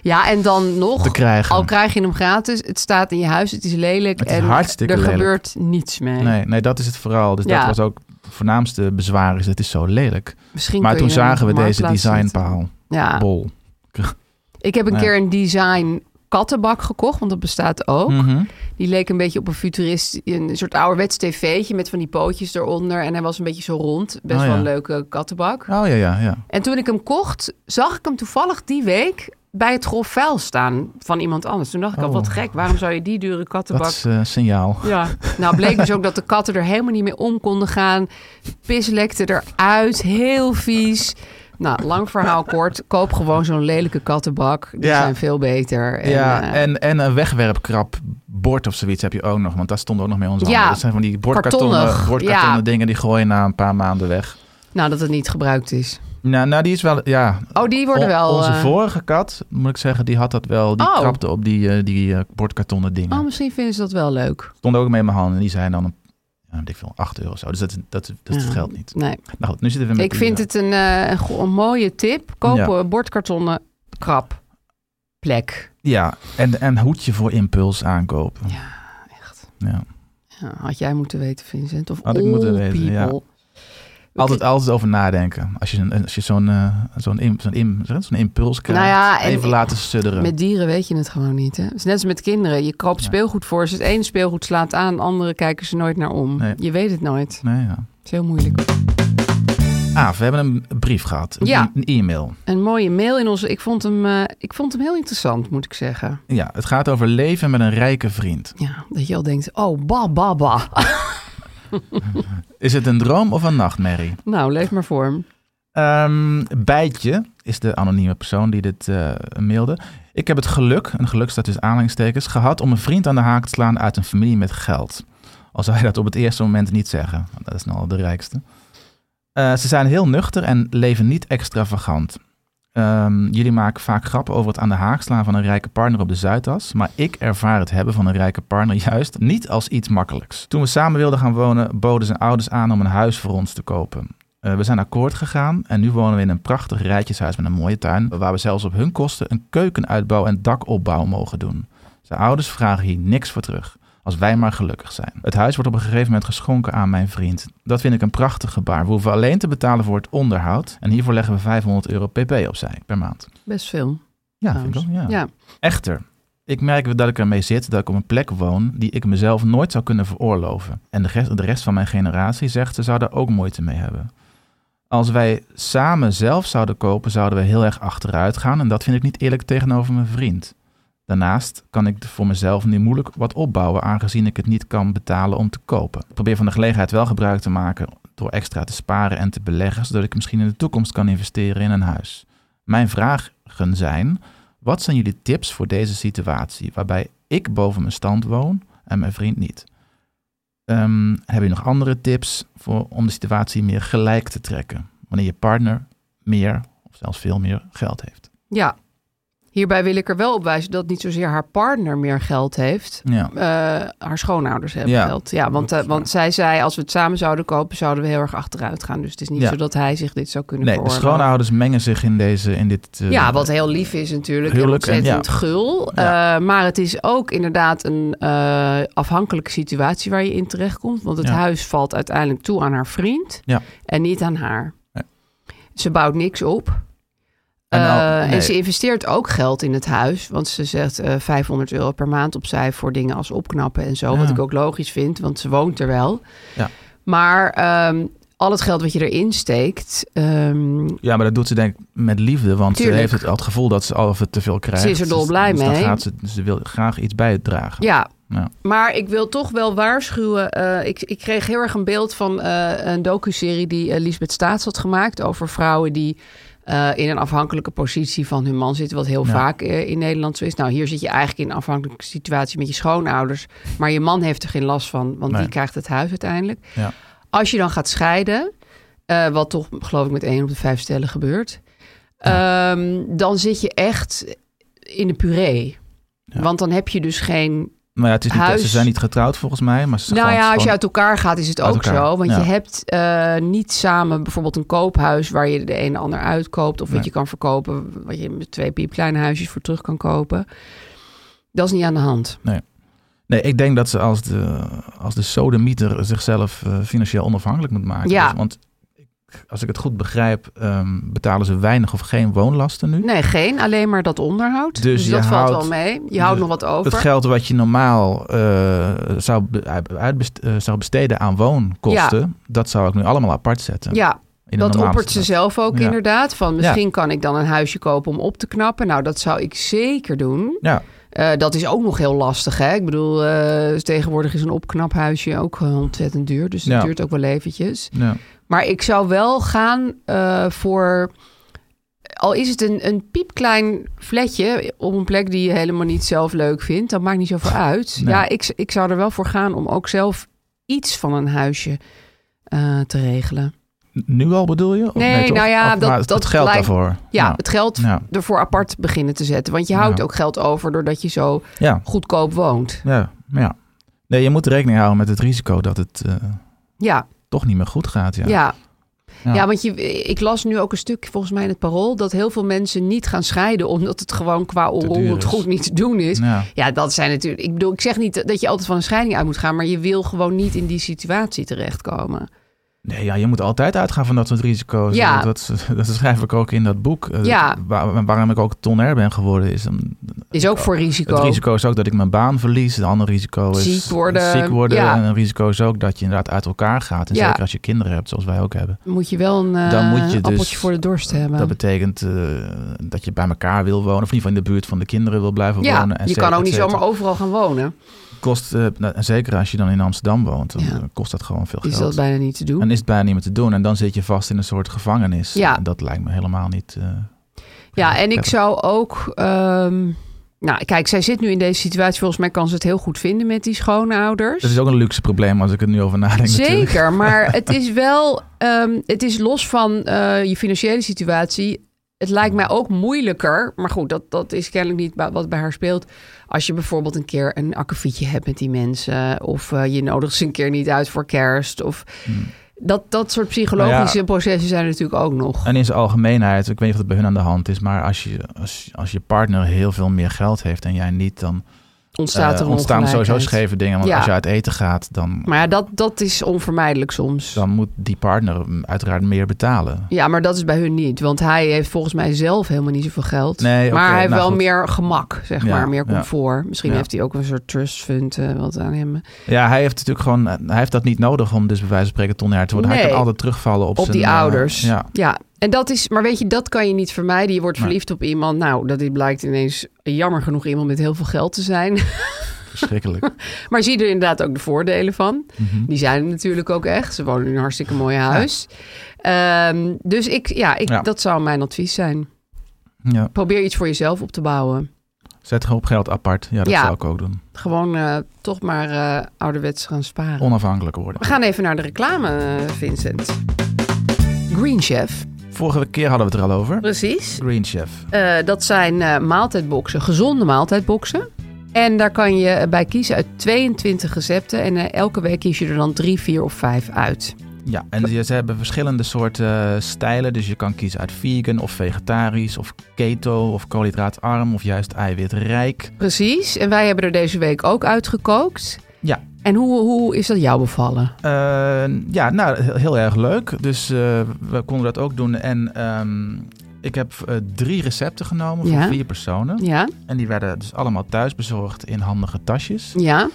Speaker 4: Ja, en dan nog,
Speaker 5: te krijgen.
Speaker 4: al krijg je hem gratis, het staat in je huis, het is lelijk.
Speaker 5: Het is
Speaker 4: en
Speaker 5: hartstikke
Speaker 4: er
Speaker 5: lelijk.
Speaker 4: gebeurt niets mee.
Speaker 5: nee, nee, dat is het vooral. Dus
Speaker 4: Ja.
Speaker 5: dat was ook het voornaamste bezwaar is, het is zo lelijk.
Speaker 4: Misschien
Speaker 5: maar
Speaker 4: kun
Speaker 5: toen
Speaker 4: je hem
Speaker 5: zagen we
Speaker 4: op
Speaker 5: deze
Speaker 4: Marktplaats Ah. zetten.
Speaker 5: designpaal.
Speaker 4: Ja.
Speaker 5: bol.
Speaker 4: Ik heb een
Speaker 5: Ja.
Speaker 4: keer een design kattenbak gekocht, want dat bestaat ook.
Speaker 5: Mhm.
Speaker 4: Die leek een beetje op een futurist, een soort ouderwets tv'tje met van die pootjes eronder. En hij was een beetje zo rond. Best
Speaker 5: Oh,
Speaker 4: wel
Speaker 5: ja.
Speaker 4: een leuke kattenbak.
Speaker 5: Oh ja, ja, ja.
Speaker 4: En toen ik hem kocht, zag ik hem toevallig die week bij het grof vuil staan van iemand anders. Toen dacht ik al,
Speaker 5: Oh.
Speaker 4: wat gek, waarom zou je die dure
Speaker 5: Dat
Speaker 4: kattenbak...
Speaker 5: is eh, signaal.
Speaker 4: Ja, nou bleek dus ook dat de katten er helemaal niet mee om konden gaan. Pis lekte eruit, heel vies. Nou, lang verhaal kort. Koop gewoon zo'n lelijke kattenbak. Die
Speaker 5: Ja.
Speaker 4: zijn veel beter. En,
Speaker 5: ja,
Speaker 4: eh,
Speaker 5: en, en een wegwerpkrap bord of zoiets heb je ook nog. Want daar stond ook nog mee ons
Speaker 4: Ja,
Speaker 5: handen. Dat zijn van die bordkartonnen,
Speaker 4: kartonnig,
Speaker 5: bordkartonnen
Speaker 4: ja.
Speaker 5: dingen die gooien na een paar maanden weg.
Speaker 4: Nou, dat het niet gebruikt is.
Speaker 5: Nou, nou die is wel, ja.
Speaker 4: Oh, die worden
Speaker 5: On-
Speaker 4: wel...
Speaker 5: Onze
Speaker 4: eh,
Speaker 5: vorige kat, moet ik zeggen, die had dat wel. Die
Speaker 4: Oh.
Speaker 5: krapte op die, eh, die eh, bordkartonnen dingen.
Speaker 4: Oh, misschien vinden ze dat wel leuk.
Speaker 5: Stond ook mee in mijn handen. En die zijn dan, een, ja, weet ik veel, 8 euro of zo. Dus dat, dat, dat
Speaker 4: Ja.
Speaker 5: geldt niet.
Speaker 4: Nee,
Speaker 5: Nou goed, nu zitten we met
Speaker 4: ik vind het een, eh, een, go- een mooie tip. Koop
Speaker 5: Ja.
Speaker 4: een bordkartonnen krap plek.
Speaker 5: Ja, en, en hoedje voor impuls aankopen.
Speaker 4: Ja, echt.
Speaker 5: Ja.
Speaker 4: Ja, had jij moeten weten, Vincent. Of
Speaker 5: Had ik
Speaker 4: all
Speaker 5: moeten weten, ja.
Speaker 4: people.
Speaker 5: Altijd, altijd over nadenken. Als je, een- als je zo'n eh, zo'n im- zo'n im- zeg je dat? zo'n impuls krijgt,
Speaker 4: Nou ja, en-
Speaker 5: even laten sudderen.
Speaker 4: Met dieren weet je het gewoon niet. Hè? Het is net als met kinderen. Je koopt
Speaker 5: Ja.
Speaker 4: speelgoed voor ze. Het ene speelgoed slaat aan, andere kijken ze nooit naar om.
Speaker 5: Nee.
Speaker 4: Je weet het nooit.
Speaker 5: Nee, ja.
Speaker 4: Het is heel moeilijk.
Speaker 5: Ah, we hebben een brief gehad. Een- e-,
Speaker 4: Ja.
Speaker 5: Een e-mail.
Speaker 4: Een mooie mail in onze. Ik vond hem, eh, ik vond hem heel interessant, moet ik zeggen.
Speaker 5: Ja, het gaat over leven met een rijke vriend.
Speaker 4: Ja, dat je al denkt: oh, ba, ba, ba.
Speaker 5: Is het een droom of een nachtmerrie?
Speaker 4: nou, leef maar voor hem.
Speaker 5: Ehm Bijtje is de anonieme persoon die dit eh, mailde. Ik heb het geluk, een geluk staat tussen aanhalingstekens, gehad om een vriend aan de haak te slaan uit een familie met geld. Al zou hij dat op het eerste moment niet zeggen, want dat is nou al de rijkste. Eh, ze zijn heel nuchter en leven niet extravagant. Ehm, jullie maken vaak grappen over het aan de haak slaan van een rijke partner op de Zuidas. Maar ik ervaar het hebben van een rijke partner juist niet als iets makkelijks. Toen we samen wilden gaan wonen, boden zijn ouders aan om een huis voor ons te kopen. Eh, we zijn akkoord gegaan en nu wonen we in een prachtig rijtjeshuis met een mooie tuin. Waar we zelfs op hun kosten een keukenuitbouw en dakopbouw mogen doen. Zijn ouders vragen hier niks voor terug. Als wij maar gelukkig zijn. Het huis wordt op een gegeven moment geschonken aan mijn vriend. Dat vind ik een prachtig gebaar. We hoeven alleen te betalen voor het onderhoud. En hiervoor leggen we 500 euro pp opzij per maand.
Speaker 4: Best veel.
Speaker 5: Ja, vind
Speaker 4: trouwens.
Speaker 5: ik wel,
Speaker 4: ja.
Speaker 5: Echter, ik merk dat ik ermee zit dat ik op een plek woon die ik mezelf nooit zou kunnen veroorloven. En de rest, de rest van mijn generatie zegt ze zou daar ook moeite mee hebben. Als wij samen zelf zouden kopen, zouden we heel erg achteruit gaan. En dat vind ik niet eerlijk tegenover mijn vriend. Daarnaast kan ik voor mezelf nu moeilijk wat opbouwen, aangezien ik het niet kan betalen om te kopen. Ik probeer van de gelegenheid wel gebruik te maken door extra te sparen en te beleggen, zodat ik misschien in de toekomst kan investeren in een huis. Mijn vragen zijn: wat zijn jullie tips voor deze situatie waarbij ik boven mijn stand woon en mijn vriend niet? Ehm, heb je nog andere tips voor, om de situatie meer gelijk te trekken? Wanneer je partner meer of zelfs veel meer geld heeft.
Speaker 4: ja. Hierbij wil ik er wel op wijzen dat niet zozeer haar partner meer geld heeft.
Speaker 5: Ja,
Speaker 4: eh, haar schoonouders hebben
Speaker 5: Ja.
Speaker 4: geld. Ja, want, eh, want zij zei, als we het samen zouden kopen, zouden we heel erg achteruit gaan. Dus het is niet
Speaker 5: Ja.
Speaker 4: zo dat hij zich dit zou kunnen
Speaker 5: nee, de
Speaker 4: veroorloven.
Speaker 5: schoonouders mengen zich in, deze, in dit. eh,
Speaker 4: Ja, wat heel lief is natuurlijk. en
Speaker 5: Huwelijk en-
Speaker 4: ontzettend
Speaker 5: ja.
Speaker 4: gul.
Speaker 5: Ja.
Speaker 4: Eh, maar het is ook inderdaad een eh, afhankelijke situatie waar je in terechtkomt. Want het
Speaker 5: Ja.
Speaker 4: huis valt uiteindelijk toe aan haar vriend
Speaker 5: Ja.
Speaker 4: en niet aan haar.
Speaker 5: Nee.
Speaker 4: Ze bouwt niks op.
Speaker 5: En al-
Speaker 4: Eh,
Speaker 5: nee.
Speaker 4: En ze investeert ook geld in het huis. Want ze zegt eh, 500 euro per maand opzij voor dingen als opknappen en zo. Wat
Speaker 5: Ja.
Speaker 4: ik ook logisch vind, want ze woont er wel.
Speaker 5: Ja.
Speaker 4: Maar ehm, al het geld wat je erin steekt, ehm,
Speaker 5: Ja, maar dat doet ze denk ik met liefde, want
Speaker 4: Tuurlijk.
Speaker 5: ze heeft het, al het gevoel dat ze al of het te veel krijgt.
Speaker 4: Ze is er dolblij
Speaker 5: dus dan
Speaker 4: mee.
Speaker 5: Gaat ze, ze wil graag iets bijdragen.
Speaker 4: Ja.
Speaker 5: Ja.
Speaker 4: Maar ik wil toch wel waarschuwen. eh, ik, ik kreeg heel erg een beeld van eh, een docuserie die eh, Lisbeth Staats had gemaakt over vrouwen die eh, in een afhankelijke positie van hun man zitten, wat heel
Speaker 5: Ja.
Speaker 4: vaak eh, in Nederland zo is. Nou, hier zit je eigenlijk in een afhankelijke situatie met je schoonouders, maar je man heeft er geen last van, want
Speaker 5: Nee.
Speaker 4: die krijgt het huis uiteindelijk.
Speaker 5: Ja.
Speaker 4: Als je dan gaat scheiden, eh, wat toch geloof ik met één op de vijf stellen gebeurt, ehm, dan zit je echt in de puree.
Speaker 5: Ja.
Speaker 4: Want dan heb je dus geen
Speaker 5: Maar ja, het is niet,
Speaker 4: Huis.
Speaker 5: ze zijn niet getrouwd volgens mij. Maar ze
Speaker 4: nou
Speaker 5: gewoon-
Speaker 4: ja, als je
Speaker 5: gewoon-
Speaker 4: uit elkaar gaat is het
Speaker 5: Uit
Speaker 4: ook
Speaker 5: elkaar,
Speaker 4: zo. Want
Speaker 5: ja.
Speaker 4: je hebt eh, niet samen bijvoorbeeld een koophuis waar je de een en ander uitkoopt. Of wat
Speaker 5: Nee.
Speaker 4: je kan verkopen, wat je met twee piep kleine huisjes voor terug kan kopen. Dat is niet aan de hand.
Speaker 5: Nee, ik denk dat ze als de, als de sodemieter zichzelf eh, financieel onafhankelijk moet maken.
Speaker 4: Ja.
Speaker 5: Dus- want als ik het goed begrijp, ehm, betalen ze weinig of geen woonlasten nu.
Speaker 4: Nee, geen. Alleen maar dat onderhoud. Dus,
Speaker 5: Dus je
Speaker 4: dat valt wel
Speaker 5: houdt-
Speaker 4: mee. Je houdt
Speaker 5: dus
Speaker 4: nog wat over.
Speaker 5: Het geld wat je normaal eh, zou, be- uitbest- eh, zou besteden aan woonkosten, dat zou ik nu allemaal apart zetten.
Speaker 4: ja,
Speaker 5: in
Speaker 4: dat
Speaker 5: normale
Speaker 4: oppert ze
Speaker 5: staat.
Speaker 4: zelf ook
Speaker 5: Ja.
Speaker 4: inderdaad. Van misschien kan ik dan een huisje kopen om op te knappen. Nou, dat zou ik zeker doen.
Speaker 5: Ja,
Speaker 4: Eh, dat is ook nog heel lastig. Hè? Ik bedoel, eh, tegenwoordig is een opknaphuisje ook eh, ontzettend duur. Dus dat
Speaker 5: Ja.
Speaker 4: duurt ook wel eventjes.
Speaker 5: ja.
Speaker 4: Maar ik zou wel gaan eh, voor. Al is het een, een piepklein flatje op een plek die je helemaal niet zelf leuk vindt, dat maakt niet zoveel uit.
Speaker 5: Nee.
Speaker 4: Ja, ik, ik zou er wel voor gaan om ook zelf iets van een huisje eh, te regelen.
Speaker 5: Nu al bedoel je? Of
Speaker 4: Nee,
Speaker 5: toch?
Speaker 4: nou ja,
Speaker 5: Of-
Speaker 4: dat-
Speaker 5: maar het-
Speaker 4: dat
Speaker 5: het geld
Speaker 4: lijkt-
Speaker 5: daarvoor. Nou,
Speaker 4: Ja,
Speaker 5: ja.
Speaker 4: het geld
Speaker 5: Ja.
Speaker 4: ervoor apart beginnen te zetten. Want je
Speaker 5: Ja.
Speaker 4: houdt ook geld over doordat je zo
Speaker 5: Ja.
Speaker 4: goedkoop woont.
Speaker 5: Ja, ja. Nee, je moet rekening houden met het risico dat het eh,
Speaker 4: Ja.
Speaker 5: toch niet meer goed gaat. Ja.
Speaker 4: Ja. Ja.
Speaker 5: Ja.
Speaker 4: want je, ik las nu ook een stuk, volgens mij in het Parool... dat heel veel mensen niet gaan scheiden... omdat het gewoon qua
Speaker 5: duur
Speaker 4: onroerend
Speaker 5: is.
Speaker 4: goed niet te doen is.
Speaker 5: Ja.
Speaker 4: Ja, dat zijn natuurlijk... Ik bedoel, ik zeg niet dat je altijd van een scheiding uit moet gaan... maar je wil gewoon niet in die situatie terechtkomen.
Speaker 5: Nee, ja, je moet altijd uitgaan van dat soort risico's.
Speaker 4: Ja.
Speaker 5: Dat, dat schrijf ik ook in dat boek. Eh,
Speaker 4: Ja.
Speaker 5: waar- waarom ik ook tonair ben geworden is... een-
Speaker 4: Is ook voor risico.
Speaker 5: Het risico is ook dat ik mijn baan verlies. Een ander risico is
Speaker 4: Ziek worden.
Speaker 5: ziek worden.
Speaker 4: Ja.
Speaker 5: En een risico is ook dat je inderdaad uit elkaar gaat. En
Speaker 4: Ja.
Speaker 5: zeker als je kinderen hebt, zoals wij ook hebben.
Speaker 4: Moet je wel een eh,
Speaker 5: Dan moet je dus-
Speaker 4: appeltje voor de dorst hebben.
Speaker 5: Dat betekent eh, dat je bij elkaar wil wonen. Of in ieder geval in de buurt van de kinderen wil blijven
Speaker 4: ja,
Speaker 5: wonen. et
Speaker 4: je
Speaker 5: cetera,
Speaker 4: kan ook
Speaker 5: et
Speaker 4: niet
Speaker 5: cetera.
Speaker 4: zomaar overal gaan wonen.
Speaker 5: kost, eh, nou, en zeker als je dan in Amsterdam woont, dan
Speaker 4: Ja.
Speaker 5: eh, kost dat gewoon veel
Speaker 4: Is
Speaker 5: geld.
Speaker 4: dat bijna niet te doen.
Speaker 5: en is het bijna niet meer te doen. En dan zit je vast in een soort gevangenis.
Speaker 4: Ja.
Speaker 5: En dat lijkt me helemaal niet. eh,
Speaker 4: Ja, en ik
Speaker 5: prettig.
Speaker 4: zou ook. ehm, nou, kijk, zij zit nu in deze situatie. Volgens mij kan ze het heel goed vinden met die schoonouders.
Speaker 5: Dat is ook een luxe probleem als ik er nu over nadenk. natuurlijk.
Speaker 4: Zeker, maar het is wel. ehm, het is los van eh, je financiële situatie. Het lijkt mij ook moeilijker. Maar goed, dat, dat is kennelijk niet ba- wat bij haar speelt. Als je bijvoorbeeld een keer een akkefietje hebt met die mensen. Of eh, je nodigt ze een keer niet uit voor kerst. Of
Speaker 5: Hmm.
Speaker 4: dat, dat soort psychologische
Speaker 5: Nou
Speaker 4: processen zijn er natuurlijk ook nog.
Speaker 5: En in zijn algemeenheid, ik weet niet of het bij hun aan de hand is, maar als je, als, als je partner heel veel meer geld heeft en jij niet, dan
Speaker 4: Ontstaat
Speaker 5: eh,
Speaker 4: er een
Speaker 5: ontstaan er sowieso
Speaker 4: ongelijkheid.
Speaker 5: scheve dingen. Want
Speaker 4: Ja.
Speaker 5: als je uit eten gaat, dan,
Speaker 4: Maar ja, dat, dat is onvermijdelijk soms.
Speaker 5: dan moet die partner mm, uiteraard meer betalen.
Speaker 4: Ja, maar dat is bij hun niet. Want hij heeft volgens mij zelf helemaal niet zoveel geld.
Speaker 5: Nee, oké,
Speaker 4: maar hij heeft
Speaker 5: nou
Speaker 4: wel
Speaker 5: goed.
Speaker 4: meer gemak, zeg
Speaker 5: Ja,
Speaker 4: maar. Meer
Speaker 5: ja.
Speaker 4: comfort. Misschien
Speaker 5: Ja.
Speaker 4: heeft hij ook een soort trust fund eh, wat aan hem.
Speaker 5: Ja, hij heeft natuurlijk gewoon, eh, hij heeft dat niet nodig om dus bij wijze van spreken tonjaar te worden. Hij
Speaker 4: Nee.
Speaker 5: kan altijd terugvallen op,
Speaker 4: Op
Speaker 5: zijn
Speaker 4: die
Speaker 5: eh,
Speaker 4: ouders.
Speaker 5: ja.
Speaker 4: En dat is, maar weet je, dat kan je niet vermijden. Je wordt
Speaker 5: Nee.
Speaker 4: verliefd op iemand. Nou, dat dit blijkt ineens jammer genoeg iemand met heel veel geld te zijn.
Speaker 5: Verschrikkelijk.
Speaker 4: maar zie er inderdaad ook de voordelen van.
Speaker 5: Mhm.
Speaker 4: Die zijn er natuurlijk ook echt. Ze wonen in een hartstikke mooi huis. Ehm, dus ik, ja, ik,
Speaker 5: Ja.
Speaker 4: dat zou mijn advies zijn.
Speaker 5: Ja,
Speaker 4: Probeer iets voor jezelf op te bouwen.
Speaker 5: zet gewoon op geld apart. Ja, dat
Speaker 4: Ja.
Speaker 5: zou ik ook doen.
Speaker 4: Gewoon eh, toch maar eh, ouderwets gaan sparen.
Speaker 5: Onafhankelijk worden.
Speaker 4: We gaan even naar de reclame, eh, Vincent. Green Chef.
Speaker 5: Vorige keer hadden we het er al over.
Speaker 4: Precies.
Speaker 5: Green Chef.
Speaker 4: dat zijn eh, maaltijdboxen, gezonde maaltijdboxen. En daar kan je bij kiezen uit 22 recepten. En eh, elke week kies je er dan drie, vier of vijf uit.
Speaker 5: Ja, en ze- ze hebben verschillende soorten eh, stijlen. Dus je kan kiezen uit vegan of vegetarisch of keto of koolhydraatarm of juist eiwitrijk.
Speaker 4: Precies. En wij hebben er deze week ook uitgekookt.
Speaker 5: Ja.
Speaker 4: En hoe, hoe is dat jou bevallen?
Speaker 5: Eh, ja, nou, heel, heel erg leuk. Dus eh, we konden dat ook doen. En ehm, ik heb eh, drie recepten genomen
Speaker 4: Ja.
Speaker 5: voor vier personen.
Speaker 4: Ja?
Speaker 5: En die werden dus allemaal thuis bezorgd in handige tasjes.
Speaker 4: Ja?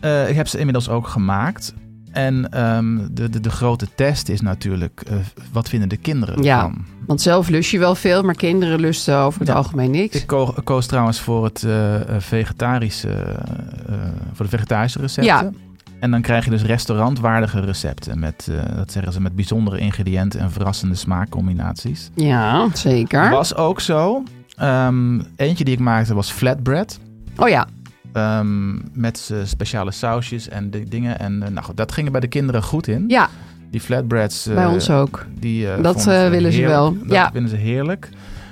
Speaker 5: Eh, ik heb ze inmiddels ook gemaakt. En ehm, de, de, de grote test is natuurlijk, eh, wat vinden de kinderen
Speaker 4: Ja.
Speaker 5: ervan?
Speaker 4: Want zelf lust je wel veel, maar kinderen lusten over het
Speaker 5: Ja.
Speaker 4: algemeen niks.
Speaker 5: Ik ko- koos trouwens voor, het, eh, eh, vegetarische, eh, voor de vegetarische recepten. En dan krijg je dus restaurantwaardige recepten. Met, eh, dat zeggen ze, met bijzondere ingrediënten en verrassende smaakcombinaties.
Speaker 4: Ja, zeker.
Speaker 5: Was ook zo. Ehm, eentje die ik maakte was flatbread.
Speaker 4: Oh ja,
Speaker 5: Ehm, met eh, speciale sausjes en die dingen. En eh, nou goed, dat ging er bij de kinderen goed in.
Speaker 4: Ja.
Speaker 5: Die flatbreads. eh,
Speaker 4: bij ons ook.
Speaker 5: Die, eh,
Speaker 4: Dat,
Speaker 5: vonden
Speaker 4: eh, willen ze
Speaker 5: heerlijk.
Speaker 4: wel.
Speaker 5: Dat
Speaker 4: Ja.
Speaker 5: vinden ze heerlijk.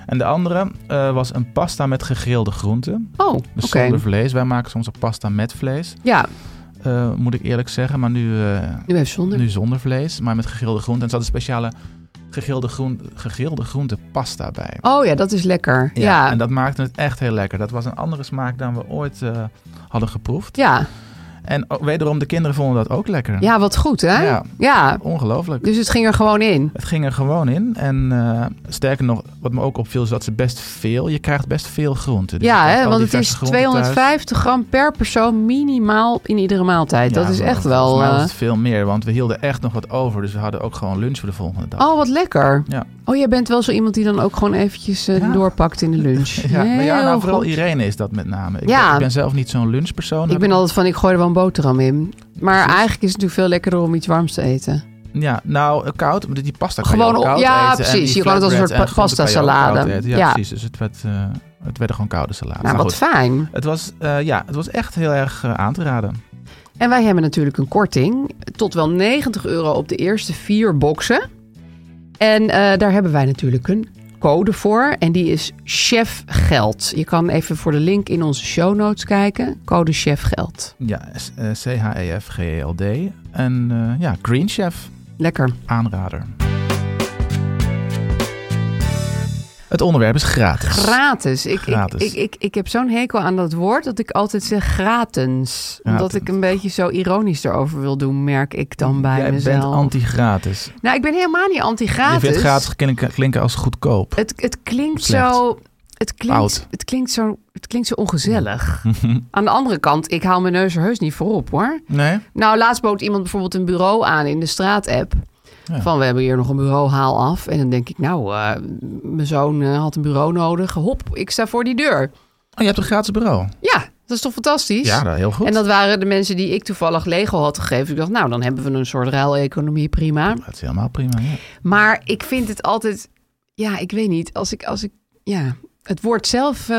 Speaker 5: En de andere eh, was een pasta met gegrilde groenten.
Speaker 4: Oh, oké.
Speaker 5: Dus zonder vlees. Wij maken soms ook pasta met vlees.
Speaker 4: Ja,
Speaker 5: eh, moet ik eerlijk zeggen. Maar nu, eh,
Speaker 4: nu even zonder.
Speaker 5: nu zonder vlees. Maar met gegrilde groenten. En er zat een speciale gegrilde, groen, gegrilde groente pasta bij.
Speaker 4: Oh ja, dat is lekker. Ja.
Speaker 5: En
Speaker 4: Ja.
Speaker 5: dat maakte het echt heel lekker. Dat was een andere smaak dan we ooit eh, hadden geproefd. En ook- wederom, de kinderen vonden dat ook lekker.
Speaker 4: Ja, wat goed, hè?
Speaker 5: Ja.
Speaker 4: ja.
Speaker 5: Ongelooflijk.
Speaker 4: Dus het ging er gewoon in.
Speaker 5: Het ging er gewoon in. En eh, sterker nog, wat me ook opviel, is dat ze best veel... Je krijgt best veel groenten. Dus je
Speaker 4: ja,
Speaker 5: krijgt
Speaker 4: hè,
Speaker 5: al
Speaker 4: want
Speaker 5: die
Speaker 4: het is
Speaker 5: verse groenten thuis.
Speaker 4: 250 gram per persoon minimaal in iedere maaltijd. dat
Speaker 5: Ja,
Speaker 4: is
Speaker 5: maar
Speaker 4: echt wel...
Speaker 5: Volgens mij was
Speaker 4: eh,
Speaker 5: het veel meer, want we hielden echt nog wat over. Dus we hadden ook gewoon lunch voor de volgende dag.
Speaker 4: Oh, wat lekker.
Speaker 5: Ja.
Speaker 4: Oh, jij bent wel zo iemand die dan ook gewoon eventjes eh,
Speaker 5: Ja.
Speaker 4: doorpakt in de lunch.
Speaker 5: Ja, maar ja,
Speaker 4: Heel
Speaker 5: nou, vooral
Speaker 4: goed.
Speaker 5: Irene is dat met name. Ik,
Speaker 4: Ja.
Speaker 5: ben, ik ben zelf niet zo'n lunchpersoon.
Speaker 4: Ik ben altijd van, ik gooi er wel een boterham in. Maar
Speaker 5: Precies.
Speaker 4: eigenlijk is het natuurlijk veel lekkerder om iets warms te eten.
Speaker 5: Ja, nou, eh, koud, maar die pasta kan
Speaker 4: Gewoon
Speaker 5: je ook
Speaker 4: op-
Speaker 5: koud
Speaker 4: ja,
Speaker 5: eten. En
Speaker 4: precies.
Speaker 5: die
Speaker 4: Je kan het als een soort
Speaker 5: flatbread en
Speaker 4: pa- pasta
Speaker 5: groenten kan je ook koud
Speaker 4: salade.
Speaker 5: eten. Ja,
Speaker 4: Ja.
Speaker 5: precies. Dus het werd, eh, het werden gewoon koude salade.
Speaker 4: nou,
Speaker 5: Maar
Speaker 4: wat
Speaker 5: goed,
Speaker 4: fijn.
Speaker 5: het was, eh, ja, het was echt heel erg eh, aan te raden.
Speaker 4: En wij hebben natuurlijk een korting. Tot wel 90 euro op de eerste vier boxen. En eh, daar hebben wij natuurlijk een code voor. En die is Chef Geld. Je kan even voor de link in onze show notes kijken. Code Chef Geld.
Speaker 5: Ja, s- eh, C-H-E-F-G-E-L-D. En eh, ja, Green Chef,
Speaker 4: Lekker.
Speaker 5: aanrader. Het onderwerp is gratis.
Speaker 4: Gratis. Ik,
Speaker 5: Gratis.
Speaker 4: Ik, ik, ik, ik heb zo'n hekel aan dat woord dat ik altijd zeg gratis. Omdat
Speaker 5: Gratis.
Speaker 4: ik een beetje zo ironisch erover wil doen, merk ik dan bij
Speaker 5: Jij
Speaker 4: mezelf.
Speaker 5: bent anti-gratis.
Speaker 4: nou, ik ben helemaal niet
Speaker 5: Je
Speaker 4: anti-gratis.
Speaker 5: vindt gratis klinken, klinken als goedkoop.
Speaker 4: Het, het klinkt
Speaker 5: Slecht.
Speaker 4: zo. Het klinkt,
Speaker 5: Oud.
Speaker 4: het, klinkt zo, het klinkt zo ongezellig. Aan de andere kant, ik haal mijn neus er heus niet voor op hoor.
Speaker 5: Nee?
Speaker 4: Nou, laatst bood iemand bijvoorbeeld een bureau aan in de straat-app.
Speaker 5: Ja.
Speaker 4: Van we hebben hier nog een bureau, haal af. En dan denk ik, nou, eh, mijn zoon eh, had een bureau nodig. Hop, ik sta voor die deur.
Speaker 5: Oh, je hebt een gratis bureau.
Speaker 4: Ja, dat is toch fantastisch?
Speaker 5: Ja, dat heel goed.
Speaker 4: En dat waren de mensen die ik toevallig Lego had gegeven. Ik dacht, nou, dan hebben we een soort ruileconomie, prima.
Speaker 5: Dat is helemaal prima. Ja.
Speaker 4: Maar ik vind het altijd, ja, ik weet niet. Als ik, als ik, ja, het woord zelf eh,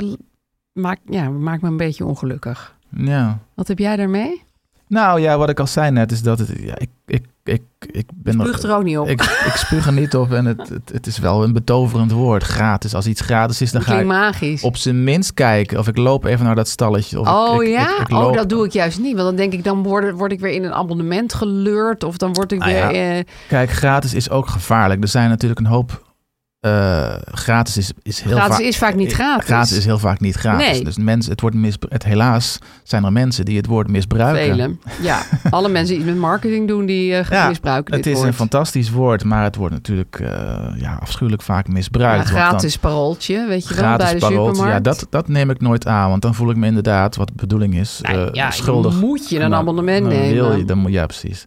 Speaker 4: maakt, ja, maakt me een beetje ongelukkig.
Speaker 5: Ja.
Speaker 4: Wat heb jij daarmee?
Speaker 5: Nou ja, wat ik al zei net is dat het. Ja, ik, ik, ik, ik ben nog-
Speaker 4: Lucht er ook niet op.
Speaker 5: Ik, ik spuug er niet op en het, het, het is wel een betoverend woord. Gratis. Als iets gratis is, dan
Speaker 4: Het
Speaker 5: ga
Speaker 4: klinkt
Speaker 5: ik
Speaker 4: magisch.
Speaker 5: op zijn minst kijken. Of ik loop even naar dat stalletje. Of ik-
Speaker 4: oh
Speaker 5: ik, ik-
Speaker 4: ja?
Speaker 5: Ik, loop.
Speaker 4: Oh, dat doe ik juist niet. Want dan denk ik, dan word, word ik weer in een abonnement geleurd. Of dan word ik
Speaker 5: Ah,
Speaker 4: weer...
Speaker 5: ja.
Speaker 4: eh,
Speaker 5: Kijk, gratis is ook gevaarlijk. Er zijn natuurlijk een hoop. eh, gratis is, is heel
Speaker 4: gratis
Speaker 5: vaak. eh,
Speaker 4: is vaak niet gratis.
Speaker 5: Gratis is heel vaak niet gratis.
Speaker 4: Nee.
Speaker 5: Dus mensen, het wordt misbru- het, helaas zijn er mensen die het woord misbruiken.
Speaker 4: Velen. Ja, alle mensen die iets met marketing doen, die eh,
Speaker 5: Ja,
Speaker 4: misbruiken
Speaker 5: Het
Speaker 4: dit
Speaker 5: is
Speaker 4: woord.
Speaker 5: een fantastisch woord, maar het wordt natuurlijk eh, ja, afschuwelijk vaak
Speaker 4: Ja,
Speaker 5: misbruikt. want dan-
Speaker 4: gratis parooltje, weet je wel,
Speaker 5: gratis
Speaker 4: bij de
Speaker 5: parool,
Speaker 4: supermarkt.
Speaker 5: Ja, dat, dat neem ik nooit aan, want dan voel ik me inderdaad, wat de bedoeling is,
Speaker 4: Nou
Speaker 5: eh,
Speaker 4: ja,
Speaker 5: schuldig.
Speaker 4: moet je een
Speaker 5: Dan-
Speaker 4: abonnement
Speaker 5: dan
Speaker 4: nemen.
Speaker 5: Wil je, dan moet, ja, precies.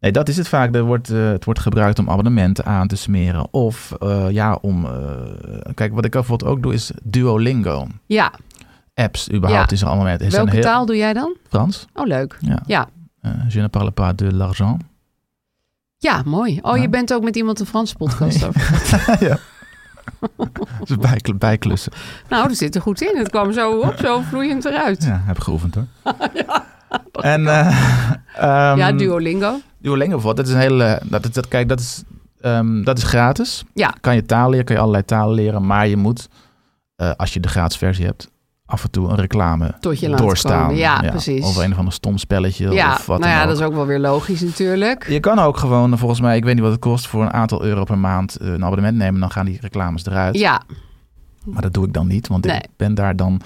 Speaker 5: Nee, dat is het vaak. Er wordt, eh, het wordt gebruikt om abonnementen aan te smeren. Of eh, ja, om... eh, kijk, wat ik bijvoorbeeld ook doe is Duolingo.
Speaker 4: Ja,
Speaker 5: Apps überhaupt
Speaker 4: Ja.
Speaker 5: is allemaal... Het is
Speaker 4: welke
Speaker 5: een heel,
Speaker 4: taal doe jij dan?
Speaker 5: Frans.
Speaker 4: Oh, leuk.
Speaker 5: Ja.
Speaker 4: Ja. Oh,
Speaker 5: Eh, je ne parle pas de l'argent.
Speaker 4: Ja, mooi. Oh, je
Speaker 5: Ja.
Speaker 4: bent ook met iemand een Franse podcast over.
Speaker 5: ja. Dus bij, bijklussen.
Speaker 4: Nou, dat zit er goed in. Het kwam zo op, zo vloeiend eruit. Ja,
Speaker 5: Ja, heb geoefend hoor. en, eh, ehm,
Speaker 4: Duolingo.
Speaker 5: Duolingo bijvoorbeeld, dat is een hele. Dat, dat, dat- kijk, dat is, ehm, dat is gratis.
Speaker 4: Ja.
Speaker 5: Kan je taal leren, kan je allerlei talen leren. Maar je moet, eh, als je de gratis versie hebt, af en toe een reclame
Speaker 4: Tot je laat
Speaker 5: doorstaan.
Speaker 4: komen. Ja, precies.
Speaker 5: Of een of ander stom spelletje.
Speaker 4: ja,
Speaker 5: of wat
Speaker 4: nou
Speaker 5: dan
Speaker 4: ja,
Speaker 5: ook.
Speaker 4: dat is ook wel weer logisch natuurlijk.
Speaker 5: Je kan ook gewoon, eh, volgens mij, ik weet niet wat het kost, voor een aantal euro per maand eh, een abonnement nemen. Dan gaan die reclames eruit.
Speaker 4: Ja,
Speaker 5: Maar dat doe ik dan niet, want
Speaker 4: Nee.
Speaker 5: ik ben daar dan...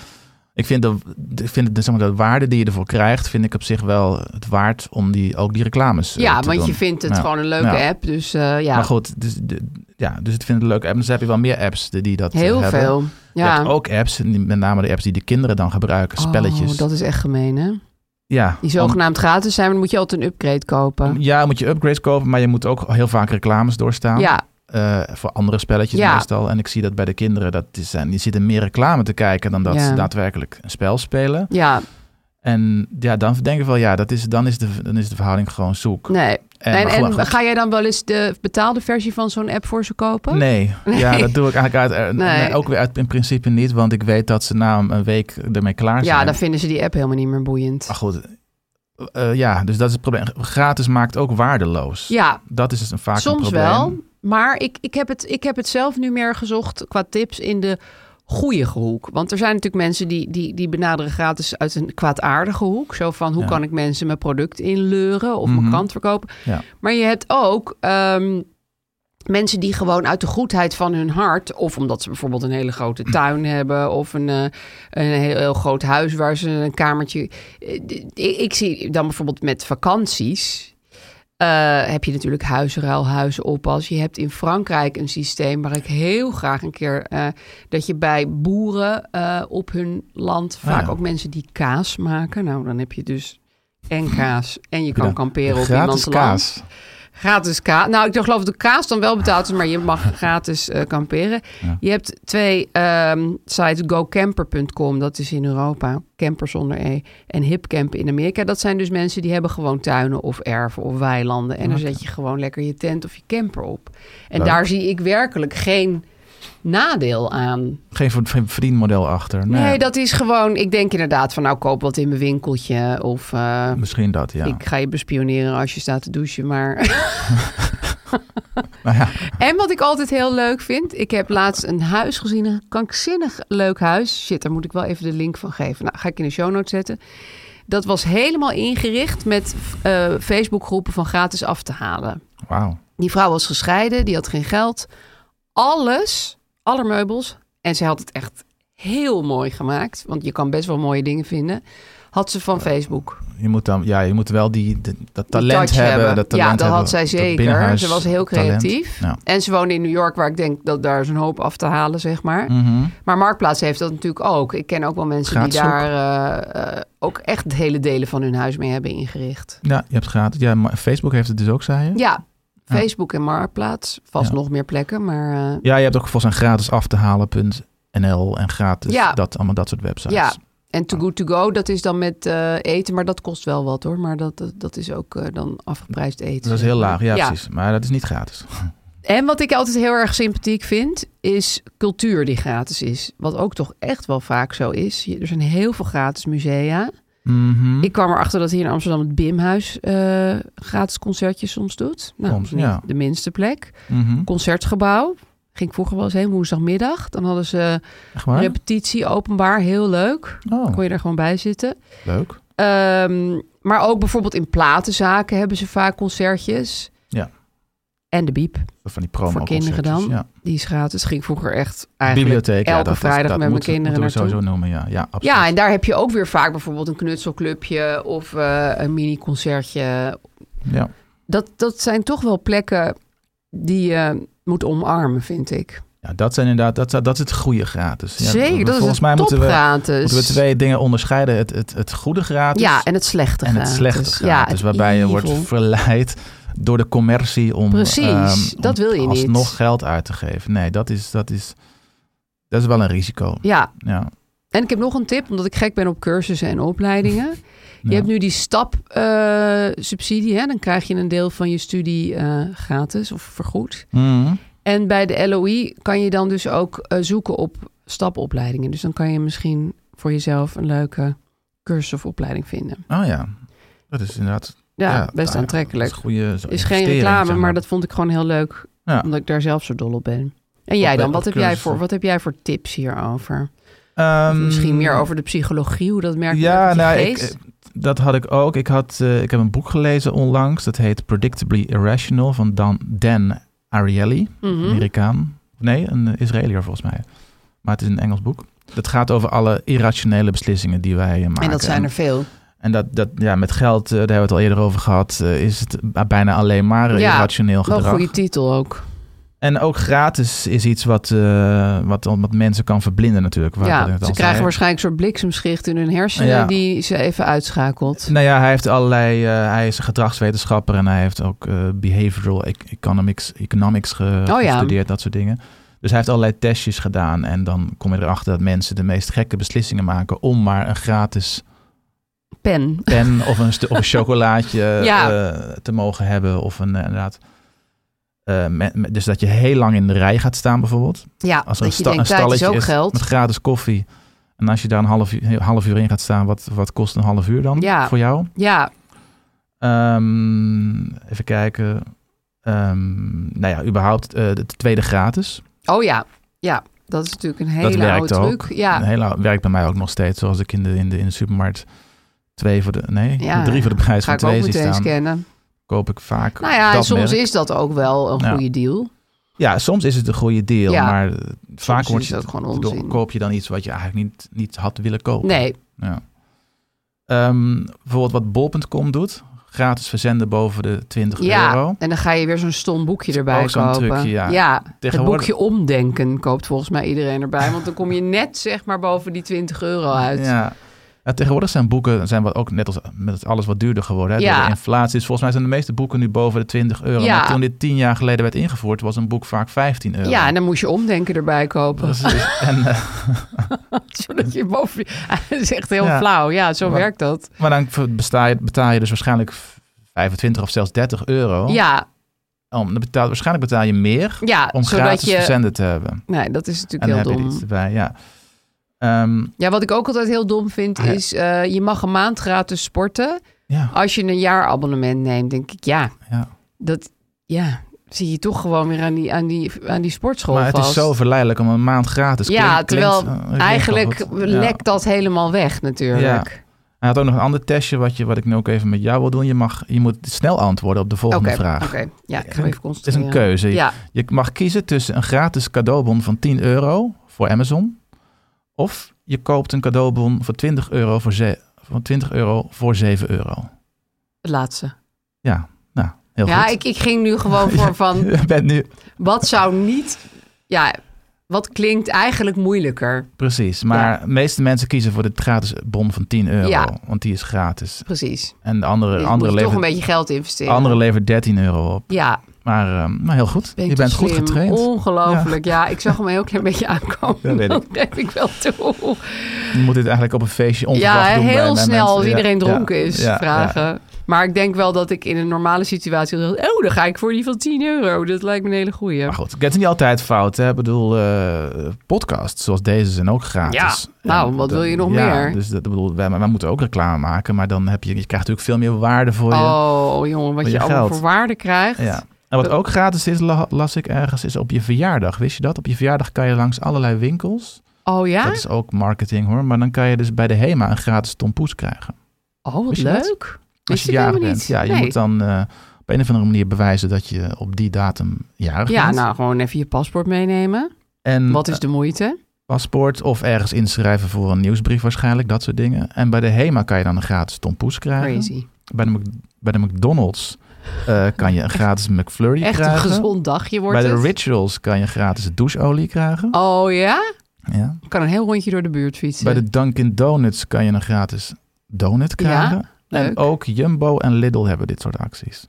Speaker 5: Ik vind, de, ik vind de, zeg maar, de waarde die je ervoor krijgt, vind ik op zich wel het waard om die, ook die reclames eh,
Speaker 4: ja
Speaker 5: te
Speaker 4: want
Speaker 5: doen.
Speaker 4: je vindt het
Speaker 5: Ja.
Speaker 4: gewoon een leuke
Speaker 5: Ja.
Speaker 4: app. Dus eh, ja,
Speaker 5: Maar goed, dus, de- ja, dus ik vind het leuk. En dus heb je wel meer apps die, die dat eh,
Speaker 4: heel
Speaker 5: hebben.
Speaker 4: veel.
Speaker 5: Je
Speaker 4: Ja.
Speaker 5: hebt ook apps, en die- met name de apps die de kinderen dan gebruiken, spelletjes.
Speaker 4: Oh, dat is echt gemeen, hè?
Speaker 5: ja,
Speaker 4: Die
Speaker 5: om-
Speaker 4: zogenaamd gratis zijn, maar dan moet je altijd een upgrade kopen.
Speaker 5: ja, moet je upgrades kopen, maar je moet ook heel vaak reclames doorstaan.
Speaker 4: Ja,
Speaker 5: eh, voor andere spelletjes
Speaker 4: Ja.
Speaker 5: meestal. En ik zie dat bij de kinderen, dat die, zijn, die zitten meer reclame te kijken dan dat
Speaker 4: Ja.
Speaker 5: ze daadwerkelijk een spel spelen.
Speaker 4: ja,
Speaker 5: En ja, dan denk ik wel, ja, dat is, dan, is de, dan is de verhouding gewoon zoek.
Speaker 4: nee.
Speaker 5: En,
Speaker 4: en
Speaker 5: maar
Speaker 4: en
Speaker 5: goed, goed.
Speaker 4: ga jij dan wel eens de betaalde versie van zo'n app voor ze kopen?
Speaker 5: Nee,
Speaker 4: Nee.
Speaker 5: ja, dat doe ik eigenlijk uit, eh,
Speaker 4: Nee.
Speaker 5: nee, ook weer uit in principe niet, want ik weet dat ze na een week ermee klaar zijn.
Speaker 4: Ja, dan vinden ze die app helemaal niet meer boeiend.
Speaker 5: Maar goed, eh, ja, dus dat is het probleem. Gratis maakt ook waardeloos.
Speaker 4: ja,
Speaker 5: Dat is dus een vaak een
Speaker 4: soms
Speaker 5: probleem.
Speaker 4: wel. Maar ik, ik, heb het, ik heb het zelf nu meer gezocht qua tips in de goede hoek. Want er zijn natuurlijk mensen die, die, die benaderen gratis uit een kwaadaardige hoek. Zo van, hoe
Speaker 5: Ja.
Speaker 4: kan ik mensen mijn product inleuren of
Speaker 5: Mhm.
Speaker 4: mijn krant verkopen?
Speaker 5: Ja.
Speaker 4: Maar je hebt ook ehm,
Speaker 5: Mm.
Speaker 4: Mensen die gewoon uit de goedheid van hun hart, of omdat ze bijvoorbeeld een hele grote tuin hebben, of een, eh, een heel, heel groot huis waar ze een kamertje. eh, d- Ik, ik zie dan bijvoorbeeld met vakanties. eh, heb je natuurlijk huisruil, huisoppas. Je hebt in Frankrijk een systeem waar ik heel graag een keer. eh, dat je bij boeren eh, op hun land.
Speaker 5: Ah,
Speaker 4: vaak
Speaker 5: ja.
Speaker 4: ook mensen die kaas maken. Nou, dan heb je dus en kaas. en je
Speaker 5: je
Speaker 4: kan
Speaker 5: dan?
Speaker 4: kamperen op
Speaker 5: Gratis
Speaker 4: iemands land.
Speaker 5: kaas.
Speaker 4: Gratis kaas. Nou, ik geloof dat de kaas dan wel betaald is, maar je mag gratis eh, kamperen.
Speaker 5: Ja.
Speaker 4: Je hebt twee ehm sites, gocamper.com, dat is in Europa, camper zonder E, en hipcamp in Amerika. Dat zijn dus mensen die hebben gewoon tuinen of erven of weilanden. En dan zet je gewoon lekker je tent of je camper op. En
Speaker 1: Leuk.
Speaker 4: daar zie ik werkelijk geen nadeel aan.
Speaker 5: Geen voor- geen verdienmodel achter.
Speaker 4: Nee,
Speaker 5: Nee,
Speaker 4: dat is gewoon, ik denk inderdaad van nou koop wat in mijn winkeltje of... eh,
Speaker 5: Misschien dat, ja.
Speaker 4: Ik ga je bespioneren als je staat te douchen, maar...
Speaker 5: Nou ja,
Speaker 4: En wat ik altijd heel leuk vind, ik heb laatst een huis gezien, een krankzinnig leuk huis. Shit, daar moet ik wel even de link van geven. Nou, ga ik in de show notes zetten. Dat was helemaal ingericht met eh Facebookgroepen van gratis af te halen.
Speaker 5: wauw.
Speaker 4: Die vrouw was gescheiden, die had geen geld. Alles, alle meubels, en ze had het echt heel mooi gemaakt, want je kan best wel mooie dingen vinden, had ze van Facebook.
Speaker 5: Je moet dan, ja, je moet wel die, de-
Speaker 4: Die
Speaker 5: dat talent
Speaker 4: touch
Speaker 5: hebben. Dat talent
Speaker 4: ja, dat
Speaker 5: hebben,
Speaker 4: had zij
Speaker 5: dat
Speaker 4: zeker.
Speaker 5: binnenhuis
Speaker 4: Ze was heel
Speaker 5: talent.
Speaker 4: creatief.
Speaker 5: Ja.
Speaker 4: En ze woonde in New York, waar ik denk dat daar is een hoop af te halen, zeg maar.
Speaker 5: Mhm.
Speaker 4: Maar Marktplaats heeft dat natuurlijk ook. Ik ken ook wel mensen die
Speaker 5: Gratis ook.
Speaker 4: daar eh, eh, ook echt hele delen van hun huis mee hebben ingericht.
Speaker 5: Ja, je hebt gratis. Ja, maar Facebook heeft het dus ook, zei je?
Speaker 4: Ja,
Speaker 5: Ja.
Speaker 4: Facebook en Marktplaats. Vast
Speaker 5: Ja.
Speaker 4: nog meer plekken, maar... eh,
Speaker 5: Ja, je hebt ook volgens een gratis af te halen.nl en gratis
Speaker 4: Ja.
Speaker 5: dat, allemaal dat soort websites.
Speaker 4: Ja, en To Good To Go, dat is dan met eh, eten, maar dat kost wel wat hoor. Maar dat, dat, dat is ook eh, dan afgeprijsd eten.
Speaker 5: Dat is
Speaker 4: zeg
Speaker 5: heel
Speaker 4: maar.
Speaker 5: laag, ja, precies. Maar dat is niet gratis.
Speaker 4: En wat ik altijd heel erg sympathiek vind, is cultuur die gratis is. Wat ook toch echt wel vaak zo is. Je- Er zijn heel veel gratis musea.
Speaker 5: Mhm.
Speaker 4: Ik kwam erachter dat hier in Amsterdam het Bimhuis eh, gratis concertjes soms doet. Nou,
Speaker 5: Soms,
Speaker 4: niet
Speaker 5: ja.
Speaker 4: de minste plek.
Speaker 5: Mhm.
Speaker 4: Concertgebouw. Ging ik vroeger wel eens heen, woensdagmiddag. Dan hadden ze
Speaker 5: Echt waar?
Speaker 4: repetitie openbaar, heel leuk.
Speaker 5: Oh,
Speaker 4: Kon je er gewoon bij zitten.
Speaker 5: leuk.
Speaker 4: Ehm, maar ook bijvoorbeeld in platenzaken hebben ze vaak concertjes.
Speaker 5: Ja.
Speaker 4: En de Biep,
Speaker 5: Van die promo
Speaker 4: Voor kinderen dan?
Speaker 5: Ja.
Speaker 4: die is gratis. Ging vroeger echt eigenlijk
Speaker 5: Bibliotheek. ja,
Speaker 4: elke
Speaker 5: dat is-
Speaker 4: vrijdag
Speaker 5: dat
Speaker 4: met mijn
Speaker 5: moeten-
Speaker 4: kinderen
Speaker 5: moeten we
Speaker 4: naartoe.
Speaker 5: sowieso noemen, ja. Ja, absoluut.
Speaker 4: Ja, en daar heb je ook weer vaak bijvoorbeeld een knutselclubje of eh, een mini-concertje.
Speaker 5: ja.
Speaker 4: Dat, dat zijn toch wel plekken die je moet omarmen, vind ik.
Speaker 5: Ja, dat zijn inderdaad, dat, zou- dat is het goede gratis. Ja,
Speaker 4: Zeker, dat is
Speaker 5: volgens
Speaker 4: het
Speaker 5: mij moeten we,
Speaker 4: topgratis.
Speaker 5: moeten we twee dingen onderscheiden. Het, het, het goede gratis
Speaker 4: ja, en het slechte
Speaker 5: en het
Speaker 4: gratis.
Speaker 5: slechte
Speaker 4: dus Ja,
Speaker 5: gratis.
Speaker 4: het
Speaker 5: dus waarbij je
Speaker 4: evil.
Speaker 5: wordt verleid door de commercie om,
Speaker 4: Precies,
Speaker 5: ehm,
Speaker 4: dat
Speaker 5: om
Speaker 4: wil je niet.
Speaker 5: alsnog geld uit te geven. Nee, dat is, dat is, dat is wel een risico.
Speaker 4: Ja,
Speaker 5: Ja.
Speaker 4: en ik heb nog een tip, omdat ik gek ben op cursussen en opleidingen. Je
Speaker 5: Ja.
Speaker 4: hebt nu die stap-subsidie, hè? dan krijg je een deel van je studie eh, gratis of vergoed.
Speaker 5: Mhm.
Speaker 4: En bij de LOI kan je dan dus ook eh, zoeken op stapopleidingen. Dus dan kan je misschien voor jezelf een leuke cursus of opleiding vinden.
Speaker 5: Oh ja, dat is inderdaad
Speaker 4: Ja,
Speaker 5: Ja, nou
Speaker 4: best
Speaker 5: ja, dat
Speaker 4: aantrekkelijk.
Speaker 5: is, goede, zo'n
Speaker 4: is geen
Speaker 5: investering,
Speaker 4: reclame,
Speaker 5: zeg
Speaker 4: maar. dat vond ik gewoon heel leuk,
Speaker 5: Ja.
Speaker 4: omdat ik daar zelf zo dol op ben. En jij dan,
Speaker 5: Op-
Speaker 4: wat
Speaker 5: op
Speaker 4: heb jij,
Speaker 5: cursussen.
Speaker 4: voor, wat heb jij voor tips hierover? Of
Speaker 5: Ehm,
Speaker 4: misschien meer over de psychologie, hoe dat merk je
Speaker 5: Ja,
Speaker 4: op je
Speaker 5: nou, ik,
Speaker 4: geest?
Speaker 5: eh, dat had ik ook. Ik, had, eh, ik heb een boek gelezen onlangs. Dat heet Predictably Irrational van Dan, Dan Ariely.
Speaker 4: Mhm.
Speaker 5: Amerikaan. Nee, een eh, Israëliër volgens mij. Maar het is een Engels boek. Dat gaat over alle irrationele beslissingen die wij eh, maken.
Speaker 4: En dat zijn er veel.
Speaker 5: En dat, dat ja, met geld, eh, daar hebben we het al eerder over gehad, eh, is het bijna alleen maar eh,
Speaker 4: Ja,
Speaker 5: irrationeel
Speaker 4: Wel een
Speaker 5: gedrag.
Speaker 4: goede titel ook.
Speaker 5: En ook gratis is iets wat, eh, wat, wat mensen kan verblinden natuurlijk. waar ik
Speaker 4: ja,
Speaker 5: het net al
Speaker 4: ze
Speaker 5: zei.
Speaker 4: krijgen waarschijnlijk een soort bliksemschicht in hun hersenen
Speaker 5: Ja.
Speaker 4: die ze even uitschakelt.
Speaker 5: Nou ja, hij heeft allerlei. eh, hij is een gedragswetenschapper en hij heeft ook eh, behavioral ec- economics, economics ge-
Speaker 4: Oh ja.
Speaker 5: gestudeerd, dat soort dingen. Dus hij heeft allerlei testjes gedaan. En dan kom je erachter dat mensen de meest gekke beslissingen maken om maar een gratis
Speaker 4: Pen.
Speaker 5: pen of een, stu- of een chocolaatje
Speaker 4: Ja.
Speaker 5: eh, te mogen hebben. Of een eh, inderdaad. eh, me- me- dus dat je heel lang in de rij gaat staan bijvoorbeeld.
Speaker 4: Ja,
Speaker 5: Als er
Speaker 4: dat
Speaker 5: een,
Speaker 4: je
Speaker 5: sta-
Speaker 4: denkt,
Speaker 5: een
Speaker 4: tijd is
Speaker 5: stalletje
Speaker 4: ook
Speaker 5: is
Speaker 4: geld.
Speaker 5: met gratis koffie. En als je daar een half uur, half uur in gaat staan, wat, wat kost een half uur dan
Speaker 4: Ja.
Speaker 5: voor jou?
Speaker 4: Ja,
Speaker 5: Ehm, even kijken. Ehm, nou ja, überhaupt eh, de tweede gratis.
Speaker 4: oh ja. Ja, dat is natuurlijk een hele
Speaker 5: werkt
Speaker 4: oude
Speaker 5: ook.
Speaker 4: truc. Ja.
Speaker 5: Een hele, werkt bij mij ook nog steeds. Zoals ik in de, in de, in de supermarkt twee voor de... Nee,
Speaker 4: Ja,
Speaker 5: drie voor de prijs
Speaker 4: Ga
Speaker 5: van
Speaker 4: ik ook
Speaker 5: twee zie
Speaker 4: meteen
Speaker 5: staan.
Speaker 4: scannen.
Speaker 5: Koop ik vaak
Speaker 4: Nou ja, en
Speaker 5: dat
Speaker 4: soms
Speaker 5: merk.
Speaker 4: is dat ook wel een
Speaker 5: Ja.
Speaker 4: goede deal.
Speaker 5: Ja, soms is het een goede deal,
Speaker 4: Ja.
Speaker 5: maar eh, vaak
Speaker 4: is
Speaker 5: word je
Speaker 4: het ook gewoon
Speaker 5: ik bedoel,
Speaker 4: onzin.
Speaker 5: koop je dan iets wat je eigenlijk niet, niet had willen kopen.
Speaker 4: Nee,
Speaker 5: Ja. Ehm, bijvoorbeeld wat bol.com doet. Gratis verzenden boven de 20
Speaker 4: ja.
Speaker 5: euro.
Speaker 4: En dan ga je weer zo'n stom boekje erbij
Speaker 5: Ook zo'n
Speaker 4: kopen.
Speaker 5: trucje, ja.
Speaker 4: het
Speaker 5: Tegenwoordig-
Speaker 4: boekje Omdenken koopt volgens mij iedereen erbij. Want dan kom je net zeg maar boven die 20 euro uit.
Speaker 5: Ja. Ja, tegenwoordig zijn boeken zijn wat ook net als met alles wat duurder geworden. Hè? Door
Speaker 4: Ja.
Speaker 5: de inflatie is volgens mij zijn de meeste boeken nu boven de 20 euro.
Speaker 4: Ja.
Speaker 5: Maar toen dit 10 jaar geleden werd ingevoerd, was een boek vaak 15 euro.
Speaker 4: Ja, nou, en dan moest je omdenken erbij kopen.
Speaker 5: Precies. en, eh,
Speaker 4: Zodat je boven... Dat is echt heel
Speaker 5: Ja.
Speaker 4: flauw. Ja, zo
Speaker 5: Maar-
Speaker 4: werkt dat.
Speaker 5: maar dan v- besta je- betaal je dus waarschijnlijk v- 25 of zelfs 30 euro.
Speaker 4: Ja,
Speaker 5: Om, dan betaal, waarschijnlijk betaal je meer
Speaker 4: ja
Speaker 5: om
Speaker 4: zodat
Speaker 5: gratis
Speaker 4: je...
Speaker 5: verzenden te hebben.
Speaker 4: Nee, dat is
Speaker 5: En dan
Speaker 4: natuurlijk
Speaker 5: heb
Speaker 4: heel
Speaker 5: je er
Speaker 4: dom.
Speaker 5: iets erbij, ja. Ehm,
Speaker 4: Ja, wat ik ook altijd heel dom vind
Speaker 5: Ah, ja.
Speaker 4: is... eh, je mag een maand gratis sporten.
Speaker 5: ja,
Speaker 4: Als je een jaarabonnement neemt, denk ik... Ja,
Speaker 5: ja.
Speaker 4: dat... Ja, zie je toch gewoon weer aan die, aan die, aan die sportschool
Speaker 5: Maar het
Speaker 4: vast.
Speaker 5: is zo verleidelijk om een maand gratis.
Speaker 4: Ja,
Speaker 5: Klink-
Speaker 4: terwijl
Speaker 5: klinkt, eh, klinkt wel
Speaker 4: Eigenlijk
Speaker 5: goed. Ja.
Speaker 4: lekt dat helemaal weg natuurlijk.
Speaker 5: Hij had ook nog een ander testje wat, je, wat ik nu ook even met jou wil doen. Je, mag, je moet snel antwoorden op de
Speaker 4: Oké,
Speaker 5: volgende vraag.
Speaker 4: oké. ja, ik
Speaker 5: Ja,
Speaker 4: ga even
Speaker 5: Het is
Speaker 4: concentreren.
Speaker 5: een keuze. Je-
Speaker 4: Ja,
Speaker 5: Je mag kiezen tussen een gratis cadeaubon van 10 euro voor Amazon. Of je koopt een cadeaubon voor 20 euro voor, ze, van 20 euro voor 7 euro.
Speaker 4: het laatste.
Speaker 5: Ja, nou, heel
Speaker 4: Ja,
Speaker 5: goed.
Speaker 4: ik, ik ging nu gewoon voor van...
Speaker 5: Je bent nu,
Speaker 4: Wat zou niet... Ja, wat klinkt eigenlijk moeilijker?
Speaker 5: precies, maar de meeste mensen kiezen voor de gratis bon van 10 euro.
Speaker 4: Ja.
Speaker 5: Want die is gratis.
Speaker 4: Precies.
Speaker 5: En de andere,
Speaker 4: Je
Speaker 5: andere,
Speaker 4: moet toch een
Speaker 5: levert,
Speaker 4: beetje geld investeren.
Speaker 5: andere levert 13 euro op.
Speaker 4: Ja,
Speaker 5: Maar, ehm, maar heel goed.
Speaker 4: ben ik
Speaker 5: je
Speaker 4: toch
Speaker 5: bent goed
Speaker 4: slim?
Speaker 5: getraind.
Speaker 4: Ongelooflijk, ja. Ik zag hem een heel klein beetje aankomen.
Speaker 5: Ja, weet ik.
Speaker 4: geef ik wel toe.
Speaker 5: Je moet dit eigenlijk op een feestje onverwacht
Speaker 4: Ja,
Speaker 5: doen. bij-
Speaker 4: heel
Speaker 5: bij
Speaker 4: snel
Speaker 5: mensen.
Speaker 4: als
Speaker 5: Ja,
Speaker 4: iedereen
Speaker 5: ja,
Speaker 4: dronken is,
Speaker 5: ja,
Speaker 4: vragen.
Speaker 5: ja.
Speaker 4: Maar ik denk wel dat ik in een normale situatie... dacht, Oh, dan ga ik voor die van 10 euro. Dat lijkt me een hele goeie.
Speaker 5: Maar goed, het is niet altijd fout. Hè? Ik bedoel, eh, podcasts zoals deze zijn ook gratis.
Speaker 4: Ja, nou,
Speaker 5: En
Speaker 4: wat wil je nog
Speaker 5: ja,
Speaker 4: meer?
Speaker 5: Dus dat, ik bedoel, wij, wij moeten ook reclame maken, maar dan heb je, je krijgt natuurlijk veel meer waarde voor je.
Speaker 4: Oh, jongen, wat
Speaker 5: Voor
Speaker 4: je,
Speaker 5: je
Speaker 4: allemaal
Speaker 5: geld.
Speaker 4: voor waarde krijgt.
Speaker 5: Ja. En wat ook gratis is, la- las ik ergens, is op je verjaardag. Wist je dat? Op je verjaardag kan je langs allerlei winkels.
Speaker 4: Oh ja?
Speaker 5: Dat is ook marketing hoor. Maar dan kan je dus bij de HEMA een gratis tompoes krijgen.
Speaker 4: Oh, wat
Speaker 5: Wist je dat?
Speaker 4: leuk.
Speaker 5: Als
Speaker 4: Wist
Speaker 5: je
Speaker 4: ik helemaal
Speaker 5: jarig bent.
Speaker 4: niet.
Speaker 5: Ja, je
Speaker 4: Nee.
Speaker 5: moet dan eh, op een of andere manier bewijzen dat je op die datum jarig
Speaker 4: Ja,
Speaker 5: bent.
Speaker 4: nou, gewoon even je paspoort meenemen.
Speaker 5: en,
Speaker 4: Wat is de moeite?
Speaker 5: paspoort of ergens inschrijven voor een nieuwsbrief waarschijnlijk, dat soort dingen. En bij de HEMA kan je dan een gratis tompoes krijgen.
Speaker 4: Crazy.
Speaker 5: Bij de, Mc- bij de McDonald's eh, kan je een gratis McFlurry
Speaker 4: Echt een
Speaker 5: krijgen.
Speaker 4: gezond dagje wordt
Speaker 5: bij de
Speaker 4: het.
Speaker 5: Rituals kan je gratis doucheolie krijgen.
Speaker 4: Oh ja?
Speaker 5: Ja.
Speaker 4: Ik kan een heel rondje door de buurt fietsen.
Speaker 5: Bij de Dunkin' Donuts kan je een gratis donut krijgen. en
Speaker 4: Leuk.
Speaker 5: ook Jumbo en Lidl hebben dit soort acties.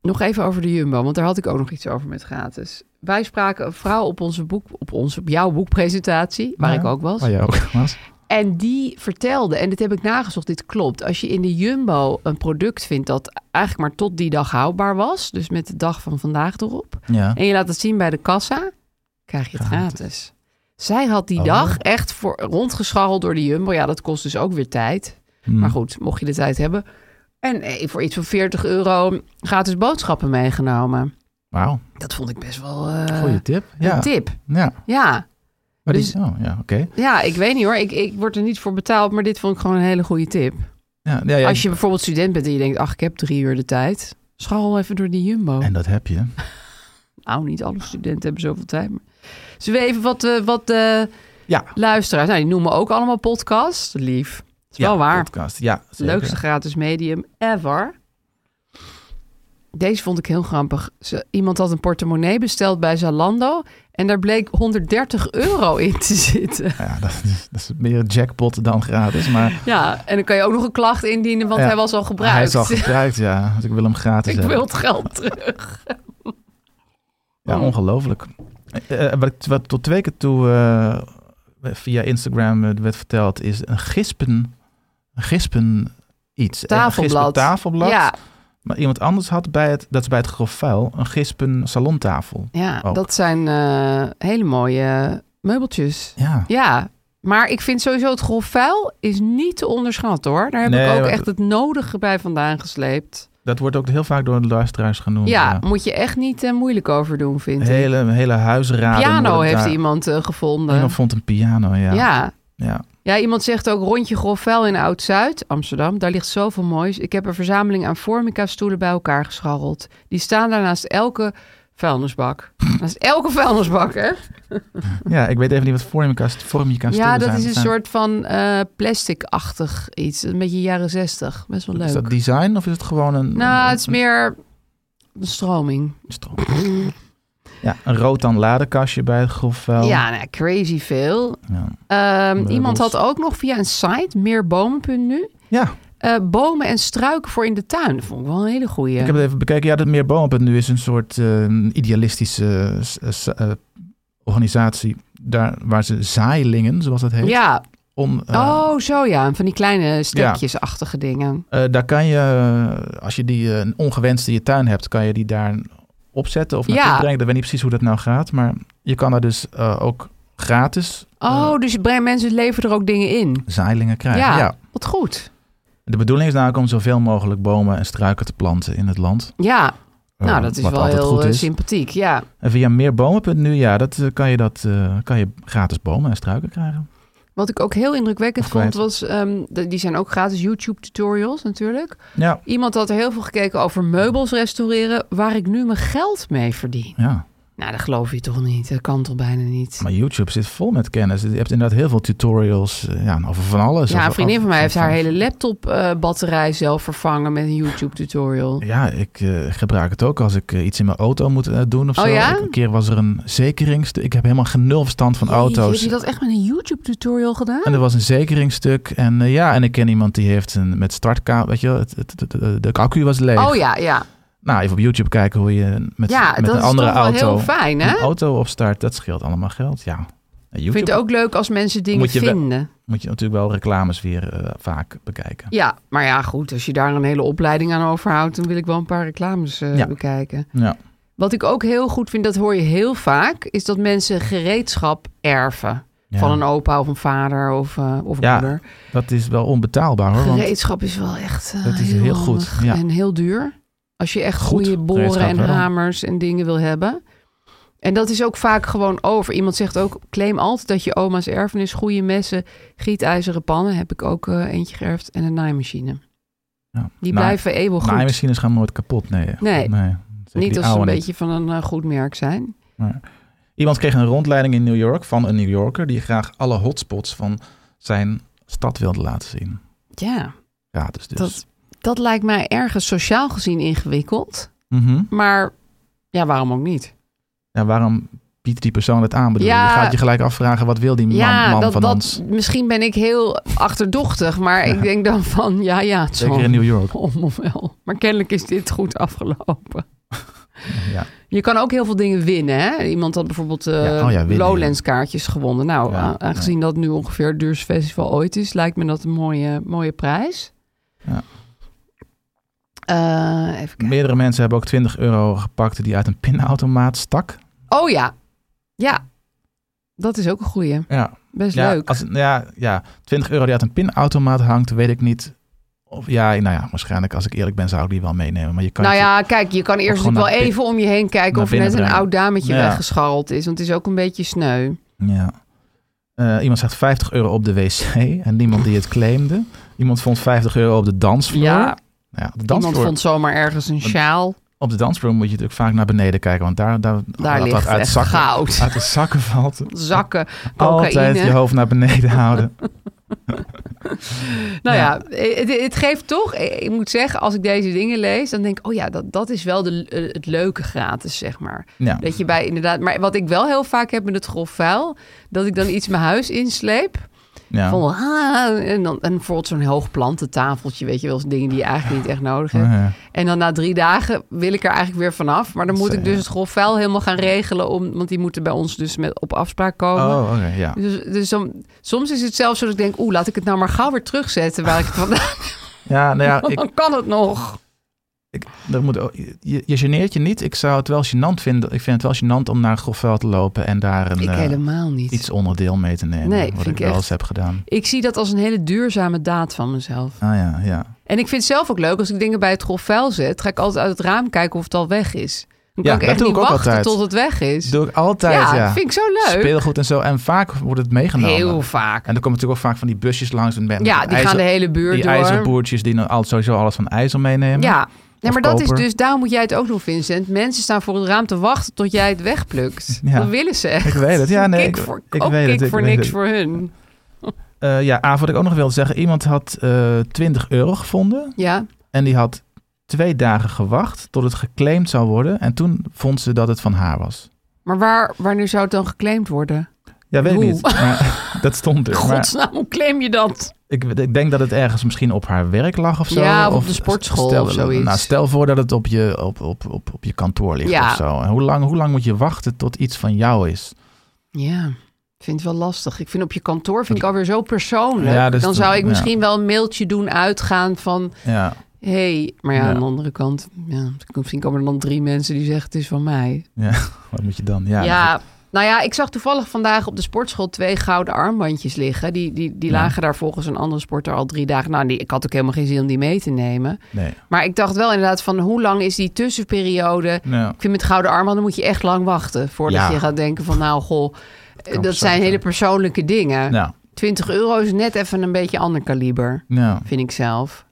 Speaker 4: Nog even over de Jumbo, want daar had ik ook nog iets over met gratis. Wij spraken een vrouw op onze boek, op onze, op jouw boekpresentatie, waar
Speaker 5: Ja.
Speaker 4: ik ook was.
Speaker 5: Waar jij ook was.
Speaker 4: En die vertelde, en dit heb ik nagezocht, dit klopt. Als je in de Jumbo een product vindt dat eigenlijk maar tot die dag houdbaar was, dus met de dag van vandaag erop,
Speaker 5: Ja.
Speaker 4: en je laat het zien bij de kassa, krijg je het gratis.
Speaker 5: Gratis.
Speaker 4: Zij had die
Speaker 5: Oh.
Speaker 4: dag echt voor, rondgescharreld door de Jumbo. Ja, dat kost dus ook weer tijd.
Speaker 5: Hmm.
Speaker 4: Maar goed, mocht je de tijd hebben. En eh, voor iets van 40 euro gratis boodschappen meegenomen.
Speaker 5: Wauw,
Speaker 4: Dat vond ik best wel eh,
Speaker 5: goede tip. Ja.
Speaker 4: een tip.
Speaker 5: Ja.
Speaker 4: Ja.
Speaker 5: Maar
Speaker 4: Dus-
Speaker 5: die, oh, ja, oké.
Speaker 4: ja, ik weet niet hoor. Ik, ik word er niet voor betaald, maar dit vond ik gewoon een hele goede tip.
Speaker 5: Ja, ja, ja,
Speaker 4: Als je bijvoorbeeld student bent en je denkt, ach, ik heb drie uur de tijd. Scharrel even door die Jumbo.
Speaker 5: En dat heb je.
Speaker 4: Nou, niet alle studenten hebben zoveel tijd. Maar... Zullen we even wat, eh, wat eh,
Speaker 5: Ja.
Speaker 4: luisteraars... Nou, die noemen ook allemaal podcast. Lief. Dat is wel waar.
Speaker 5: Podcast. Ja,
Speaker 4: Het
Speaker 5: zeker.
Speaker 4: Leukste gratis medium ever. Deze vond ik heel grappig. Ze- iemand had een portemonnee besteld bij Zalando... en daar bleek 130 euro in te zitten.
Speaker 5: Nou Ja, dat is, dat is meer een jackpot dan gratis. Maar
Speaker 4: Ja, en dan kan je ook nog een klacht indienen... want
Speaker 5: Ja,
Speaker 4: hij was al gebruikt.
Speaker 5: hij is al gebruikt, ja. Dus ik wil hem gratis
Speaker 4: ik
Speaker 5: hebben.
Speaker 4: wil het geld terug.
Speaker 5: Ja, ongelooflijk. Eh, eh, wat, ik- wat tot twee keer toe eh, via Instagram eh, werd verteld, is een gispen, een gispen iets. Eh, een gispen
Speaker 4: Tafelblad.
Speaker 5: tafelblad.
Speaker 4: Ja,
Speaker 5: Maar iemand anders had bij het, dat is bij het grof vuil, een gispen salontafel.
Speaker 4: ja
Speaker 5: Ook.
Speaker 4: dat zijn eh, hele mooie meubeltjes.
Speaker 5: Ja.
Speaker 4: Ja, maar ik vind sowieso het grof vuil is niet te onderschatten hoor. Daar heb
Speaker 5: Nee,
Speaker 4: ik ook
Speaker 5: maar-
Speaker 4: echt het nodige bij vandaan gesleept.
Speaker 5: Dat wordt ook heel vaak door de luisteraars genoemd.
Speaker 4: Ja, moet je echt niet eh, moeilijk over doen, vind ik.
Speaker 5: Oh, Hele, hele huisraden.
Speaker 4: Piano
Speaker 5: worden
Speaker 4: heeft
Speaker 5: daar-
Speaker 4: iemand eh, gevonden.
Speaker 5: Iemand vond een piano, ja.
Speaker 4: ja. Ja.
Speaker 5: ja.
Speaker 4: iemand zegt ook rondje grof vuil in Oud-Zuid, Amsterdam. Daar ligt zoveel moois. Ik heb een verzameling aan Formica-stoelen bij elkaar gescharreld. Die staan daar naast elke vuilnisbak. Dat is elke vuilnisbak, hè?
Speaker 5: Ja, ik weet even niet wat vormkast, vormkast
Speaker 4: Ja, dat
Speaker 5: zijn.
Speaker 4: is een
Speaker 5: zijn.
Speaker 4: soort van eh, plastic-achtig iets. Een beetje jaren zestig. Best wel
Speaker 5: Is
Speaker 4: leuk.
Speaker 5: dat design of is het gewoon een...
Speaker 4: Nou,
Speaker 5: een-
Speaker 4: het is meer een stroming.
Speaker 5: een stroom? Ja, een rotan ladekastje bij het grofvuil.
Speaker 4: Ja, nou, crazy veel.
Speaker 5: Ja.
Speaker 4: Ehm,
Speaker 5: Meubels.
Speaker 4: iemand had ook nog via een site, meerbomen.nu,
Speaker 5: Ja,
Speaker 4: eh bomen en struiken voor in de tuin. Dat vond ik wel een hele goeie.
Speaker 5: ik heb het even bekeken. Ja, dat meer Boompunt nu is een soort eh, idealistische eh, s- eh, s- eh, organisatie. Daar waar ze zaailingen, zoals dat heet.
Speaker 4: ja,
Speaker 5: Om, eh,
Speaker 4: oh zo ja, van die kleine stekjesachtige dingen.
Speaker 5: Eh, daar kan je, eh, als je die eh, een ongewenste in je tuin hebt, kan je die daar opzetten of naartoe
Speaker 4: Ja.
Speaker 5: brengen. Ik weet niet precies hoe dat nou gaat, maar je kan daar dus eh, ook gratis
Speaker 4: Oh, dus je brengt- mensen leveren er ook dingen in.
Speaker 5: zaailingen krijgen.
Speaker 4: Ja,
Speaker 5: Ja.
Speaker 4: wat goed.
Speaker 5: De bedoeling is namelijk om zoveel mogelijk bomen en struiken te planten in het land.
Speaker 4: Ja, nou
Speaker 5: Eh,
Speaker 4: dat is
Speaker 5: wat
Speaker 4: wel
Speaker 5: altijd
Speaker 4: heel
Speaker 5: goed
Speaker 4: eh,
Speaker 5: is.
Speaker 4: sympathiek. Ja.
Speaker 5: En via meerbomen.nu, ja, dat, eh, kan, je dat, eh, kan je gratis bomen en struiken krijgen.
Speaker 4: Wat ik ook heel indrukwekkend
Speaker 5: Of kwijt.
Speaker 4: vond was, ehm, de- die zijn ook gratis YouTube tutorials natuurlijk.
Speaker 5: Ja,
Speaker 4: Iemand had er heel veel gekeken over meubels restaureren, waar ik nu mijn geld mee verdien.
Speaker 5: ja.
Speaker 4: Nou, dat geloof je toch niet? Dat kan toch bijna niet?
Speaker 5: Maar YouTube zit vol met kennis. Je hebt inderdaad heel veel tutorials eh, ja, over van alles.
Speaker 4: ja,
Speaker 5: Over-
Speaker 4: een vriendin van mij heeft haar
Speaker 5: van-
Speaker 4: hele laptop-batterij zelf vervangen met een YouTube-tutorial.
Speaker 5: Ja, ik eh, gebruik het ook als ik eh, iets in mijn auto moet eh, doen of
Speaker 4: Oh
Speaker 5: zo.
Speaker 4: ja?
Speaker 5: Ik- een keer was er een zekeringsstuk. Ik heb helemaal genul verstand van
Speaker 4: Jeetje,
Speaker 5: auto's.
Speaker 4: Heb je dat echt met een YouTube-tutorial gedaan?
Speaker 5: En er was een zekeringstuk. En eh, ja, en ik ken iemand die heeft een met startkamer. Weet je, wel, het, het, het- het- de accu was leeg.
Speaker 4: Oh ja, ja.
Speaker 5: Nou, even op YouTube kijken hoe je met,
Speaker 4: Ja,
Speaker 5: met
Speaker 4: dat
Speaker 5: een
Speaker 4: is
Speaker 5: andere
Speaker 4: toch wel
Speaker 5: auto
Speaker 4: heel fijn, hè?
Speaker 5: een auto opstart. Dat scheelt allemaal geld. Ja. En
Speaker 4: Ik
Speaker 5: YouTube
Speaker 4: vind het ook leuk als mensen dingen
Speaker 5: Moet je wel-
Speaker 4: vinden.
Speaker 5: moet je natuurlijk wel reclames weer eh, vaak bekijken.
Speaker 4: Ja, maar ja, goed. Als je daar een hele opleiding aan overhoudt, dan wil ik wel een paar reclames eh,
Speaker 5: Ja.
Speaker 4: bekijken.
Speaker 5: Ja.
Speaker 4: Wat ik ook heel goed vind, dat hoor je heel vaak, is dat mensen gereedschap erven.
Speaker 5: Ja.
Speaker 4: Van een opa of een vader of, eh, of een
Speaker 5: Ja,
Speaker 4: moeder.
Speaker 5: Dat is wel onbetaalbaar hoor. Want
Speaker 4: Gereedschap is wel echt eh,
Speaker 5: Dat is heel goed,
Speaker 4: handig
Speaker 5: ja.
Speaker 4: en heel duur. Als je echt
Speaker 5: Goed
Speaker 4: goede boren
Speaker 5: gereedschap
Speaker 4: en
Speaker 5: wel.
Speaker 4: hamers en dingen wil hebben. En dat is ook vaak gewoon over. Iemand zegt ook, claim altijd dat je oma's erfenis, goede messen, gietijzeren pannen. Heb ik ook eh, eentje geërfd en een naaimachine.
Speaker 5: ja.
Speaker 4: Die
Speaker 5: Nou,
Speaker 4: blijven eeuwig goed.
Speaker 5: Naaimachines gaan nooit kapot, nee.
Speaker 4: Nee.
Speaker 5: Zeker
Speaker 4: niet
Speaker 5: die
Speaker 4: als ze een
Speaker 5: oude niet.
Speaker 4: beetje van een eh, goed merk zijn.
Speaker 5: Iemand kreeg een rondleiding in New York van een New Yorker... die graag alle hotspots van zijn stad wilde laten zien.
Speaker 4: Ja,
Speaker 5: Gratis dus.
Speaker 4: dat, dat lijkt mij ergens sociaal gezien ingewikkeld.
Speaker 5: Mhm.
Speaker 4: Maar ja, waarom ook niet?
Speaker 5: ja, waarom biedt die persoon dat aan? Bedoel,
Speaker 4: Ja.
Speaker 5: Je gaat je gelijk afvragen, wat wil die man,
Speaker 4: ja,
Speaker 5: man
Speaker 4: dat,
Speaker 5: van
Speaker 4: dat,
Speaker 5: ons?
Speaker 4: misschien ben ik heel achterdochtig. Maar ik denk dan van, ja, ja, het zal
Speaker 5: Zeker in New York.
Speaker 4: om of wel. Maar kennelijk is dit goed afgelopen.
Speaker 5: Ja.
Speaker 4: Je kan ook heel veel dingen winnen. Hè? Iemand had bijvoorbeeld eh,
Speaker 5: Ja, oh ja, winnen,
Speaker 4: Lowlands kaartjes gewonnen. Nou,
Speaker 5: Ja,
Speaker 4: a- aangezien dat nu ongeveer het duurste festival ooit is, lijkt me dat een mooie, mooie prijs.
Speaker 5: Ja.
Speaker 4: Eh, even kijken.
Speaker 5: Meerdere mensen hebben ook 20 euro gepakt die uit een pinautomaat stak.
Speaker 4: Oh ja. Ja. Dat is ook een goeie.
Speaker 5: Ja,
Speaker 4: Best
Speaker 5: ja,
Speaker 4: leuk.
Speaker 5: Als, ja, ja, 20 euro die uit een pinautomaat hangt, weet ik niet. Of, ja, nou ja, waarschijnlijk als ik eerlijk ben zou ik die wel meenemen. Maar je kan
Speaker 4: nou
Speaker 5: het-
Speaker 4: ja, kijk, je kan eerst
Speaker 5: gewoon
Speaker 4: natuurlijk wel
Speaker 5: naar
Speaker 4: even om je heen kijken
Speaker 5: naar
Speaker 4: of er net een
Speaker 5: binnen
Speaker 4: oud dametje
Speaker 5: Ja.
Speaker 4: weggescharreld is. Want het is ook een beetje sneu.
Speaker 5: Ja. Eh, iemand zegt 50 euro op de wc en niemand die het claimde. Iemand vond 50 euro op de dansvloer. Nou
Speaker 4: Ja,
Speaker 5: Ja, op, de
Speaker 4: iemand
Speaker 5: dansvloer
Speaker 4: vond zomaar ergens een sjaal.
Speaker 5: op de dansvloer moet je natuurlijk vaak naar beneden kijken, want daar, daar,
Speaker 4: Daar
Speaker 5: dat
Speaker 4: ligt
Speaker 5: uit
Speaker 4: echt
Speaker 5: zakken,
Speaker 4: goud.
Speaker 5: Uit de zakken valt.
Speaker 4: Zakken,
Speaker 5: Altijd je
Speaker 4: cocaïne.
Speaker 5: hoofd naar beneden houden.
Speaker 4: Nou ja,
Speaker 5: Ja.
Speaker 4: het, het geeft toch, eh, ik moet zeggen, als ik deze dingen lees, dan denk ik, oh ja, dat, dat is wel de, eh, het leuke gratis, zeg maar.
Speaker 5: Ja.
Speaker 4: Dat je bij inderdaad, maar wat ik wel heel vaak heb met het grof vuil, dat ik dan iets mijn huis insleep.
Speaker 5: Ja.
Speaker 4: Van, ah, en, dan, en bijvoorbeeld zo'n hoog plantentafeltje, weet je wel, zo'n dingen die je eigenlijk niet echt nodig hebt.
Speaker 5: Oh, Ja.
Speaker 4: En dan na drie dagen wil ik er eigenlijk weer vanaf. Maar dan moet ik dus het grof vuil helemaal gaan regelen, om, want die moeten bij ons dus met, op afspraak komen.
Speaker 5: Oh, oké, ja.
Speaker 4: Dus, dus dan- soms is het zelfs zo dat ik denk, oeh, laat ik het nou maar gauw weer terugzetten waar ik het vandaan
Speaker 5: Ja, nou ja, ik,
Speaker 4: Dan kan het nog.
Speaker 5: ik, er moet, ook- je, je geneert je niet. Ik zou het wel gênant vinden. Ik vind het wel gênant om naar een grofveld te lopen en daar een,
Speaker 4: Ik
Speaker 5: eh,
Speaker 4: helemaal niet.
Speaker 5: iets onderdeel mee te nemen.
Speaker 4: Nee,
Speaker 5: wat
Speaker 4: vind
Speaker 5: ik
Speaker 4: ik
Speaker 5: wel
Speaker 4: echt-
Speaker 5: eens heb gedaan.
Speaker 4: Ik zie dat als een hele duurzame daad van mezelf.
Speaker 5: Ah ja, ja.
Speaker 4: En ik vind het zelf ook leuk, als ik dingen bij het grof vuil zet, ga ik altijd uit het raam kijken of het al weg is. Dan
Speaker 5: Ja,
Speaker 4: kan ik
Speaker 5: dat
Speaker 4: echt
Speaker 5: doe
Speaker 4: niet
Speaker 5: ik ook
Speaker 4: wachten
Speaker 5: altijd.
Speaker 4: tot het weg is.
Speaker 5: doe ik altijd,
Speaker 4: ja,
Speaker 5: ja.
Speaker 4: dat vind ik zo leuk.
Speaker 5: Speelgoed en zo. En vaak wordt het meegenomen.
Speaker 4: Heel vaak.
Speaker 5: En er komen natuurlijk ook vaak van die busjes langs. Met, met
Speaker 4: Ja, die gaan de hele buurt
Speaker 5: Die
Speaker 4: door.
Speaker 5: ijzerboertjes die nou al- sowieso alles van ijzer meenemen.
Speaker 4: Ja, Nee,
Speaker 5: Of
Speaker 4: maar dat is
Speaker 5: koper.
Speaker 4: dus, daarom moet jij het ook doen, Vincent. Mensen staan voor het raam te wachten tot jij het wegplukt.
Speaker 5: Ja.
Speaker 4: Dat willen ze echt.
Speaker 5: Ik weet het, ja. Nee,
Speaker 4: Kik
Speaker 5: ik-
Speaker 4: voor,
Speaker 5: ik
Speaker 4: ook
Speaker 5: weet het,
Speaker 4: kik
Speaker 5: ik
Speaker 4: voor
Speaker 5: weet
Speaker 4: niks
Speaker 5: het.
Speaker 4: voor hun.
Speaker 5: Eh, ja, ah, wat ik ook nog wilde zeggen. Iemand had eh 20 euro gevonden.
Speaker 4: Ja,
Speaker 5: En die had twee dagen gewacht tot het geclaimd zou worden. En toen vond ze dat het van haar was.
Speaker 4: maar waar, wanneer zou het dan geclaimd worden?
Speaker 5: Ja, weet ik
Speaker 4: Hoe?
Speaker 5: niet. Maar, dat stond er. Maar
Speaker 4: Godsnaam, hoe claim je dat?
Speaker 5: ik, ik denk dat het ergens misschien op haar werk lag of zo.
Speaker 4: Ja, of op de sportschool
Speaker 5: stel,
Speaker 4: of zoiets.
Speaker 5: Nou, stel voor dat het op je, op, op, op, op je kantoor ligt
Speaker 4: Ja.
Speaker 5: of zo. En hoe lang, hoe lang moet je wachten tot iets van jou is?
Speaker 4: Ja, ik vind het wel lastig. Ik vind op je kantoor vind ik alweer zo persoonlijk.
Speaker 5: Ja, dus
Speaker 4: dan
Speaker 5: dat-
Speaker 4: zou ik
Speaker 5: ja.
Speaker 4: misschien wel een mailtje doen uitgaan van...
Speaker 5: Ja,
Speaker 4: hey, maar ja,
Speaker 5: Ja.
Speaker 4: aan de andere kant... Ja, misschien komen er dan drie mensen die zeggen het is van mij.
Speaker 5: ja. wat moet je dan? Ja,
Speaker 4: Ja, nou ja, ik zag toevallig vandaag op de sportschool twee gouden armbandjes liggen. Die, die, die
Speaker 5: Ja.
Speaker 4: lagen daar volgens een andere sporter al drie dagen. Nou, die, ik had ook helemaal geen zin om die mee te nemen.
Speaker 5: Nee.
Speaker 4: Maar ik dacht wel inderdaad van hoe lang is die tussenperiode?
Speaker 5: Ja.
Speaker 4: Ik vind met gouden armbanden moet je echt lang wachten voordat
Speaker 5: Ja.
Speaker 4: je gaat denken van nou goh, eh, dat
Speaker 5: persoonlijk
Speaker 4: zijn hele
Speaker 5: zijn.
Speaker 4: persoonlijke dingen.
Speaker 5: Nou,
Speaker 4: 20 euro is net even een beetje ander kaliber,
Speaker 5: nou.
Speaker 4: vind ik zelf.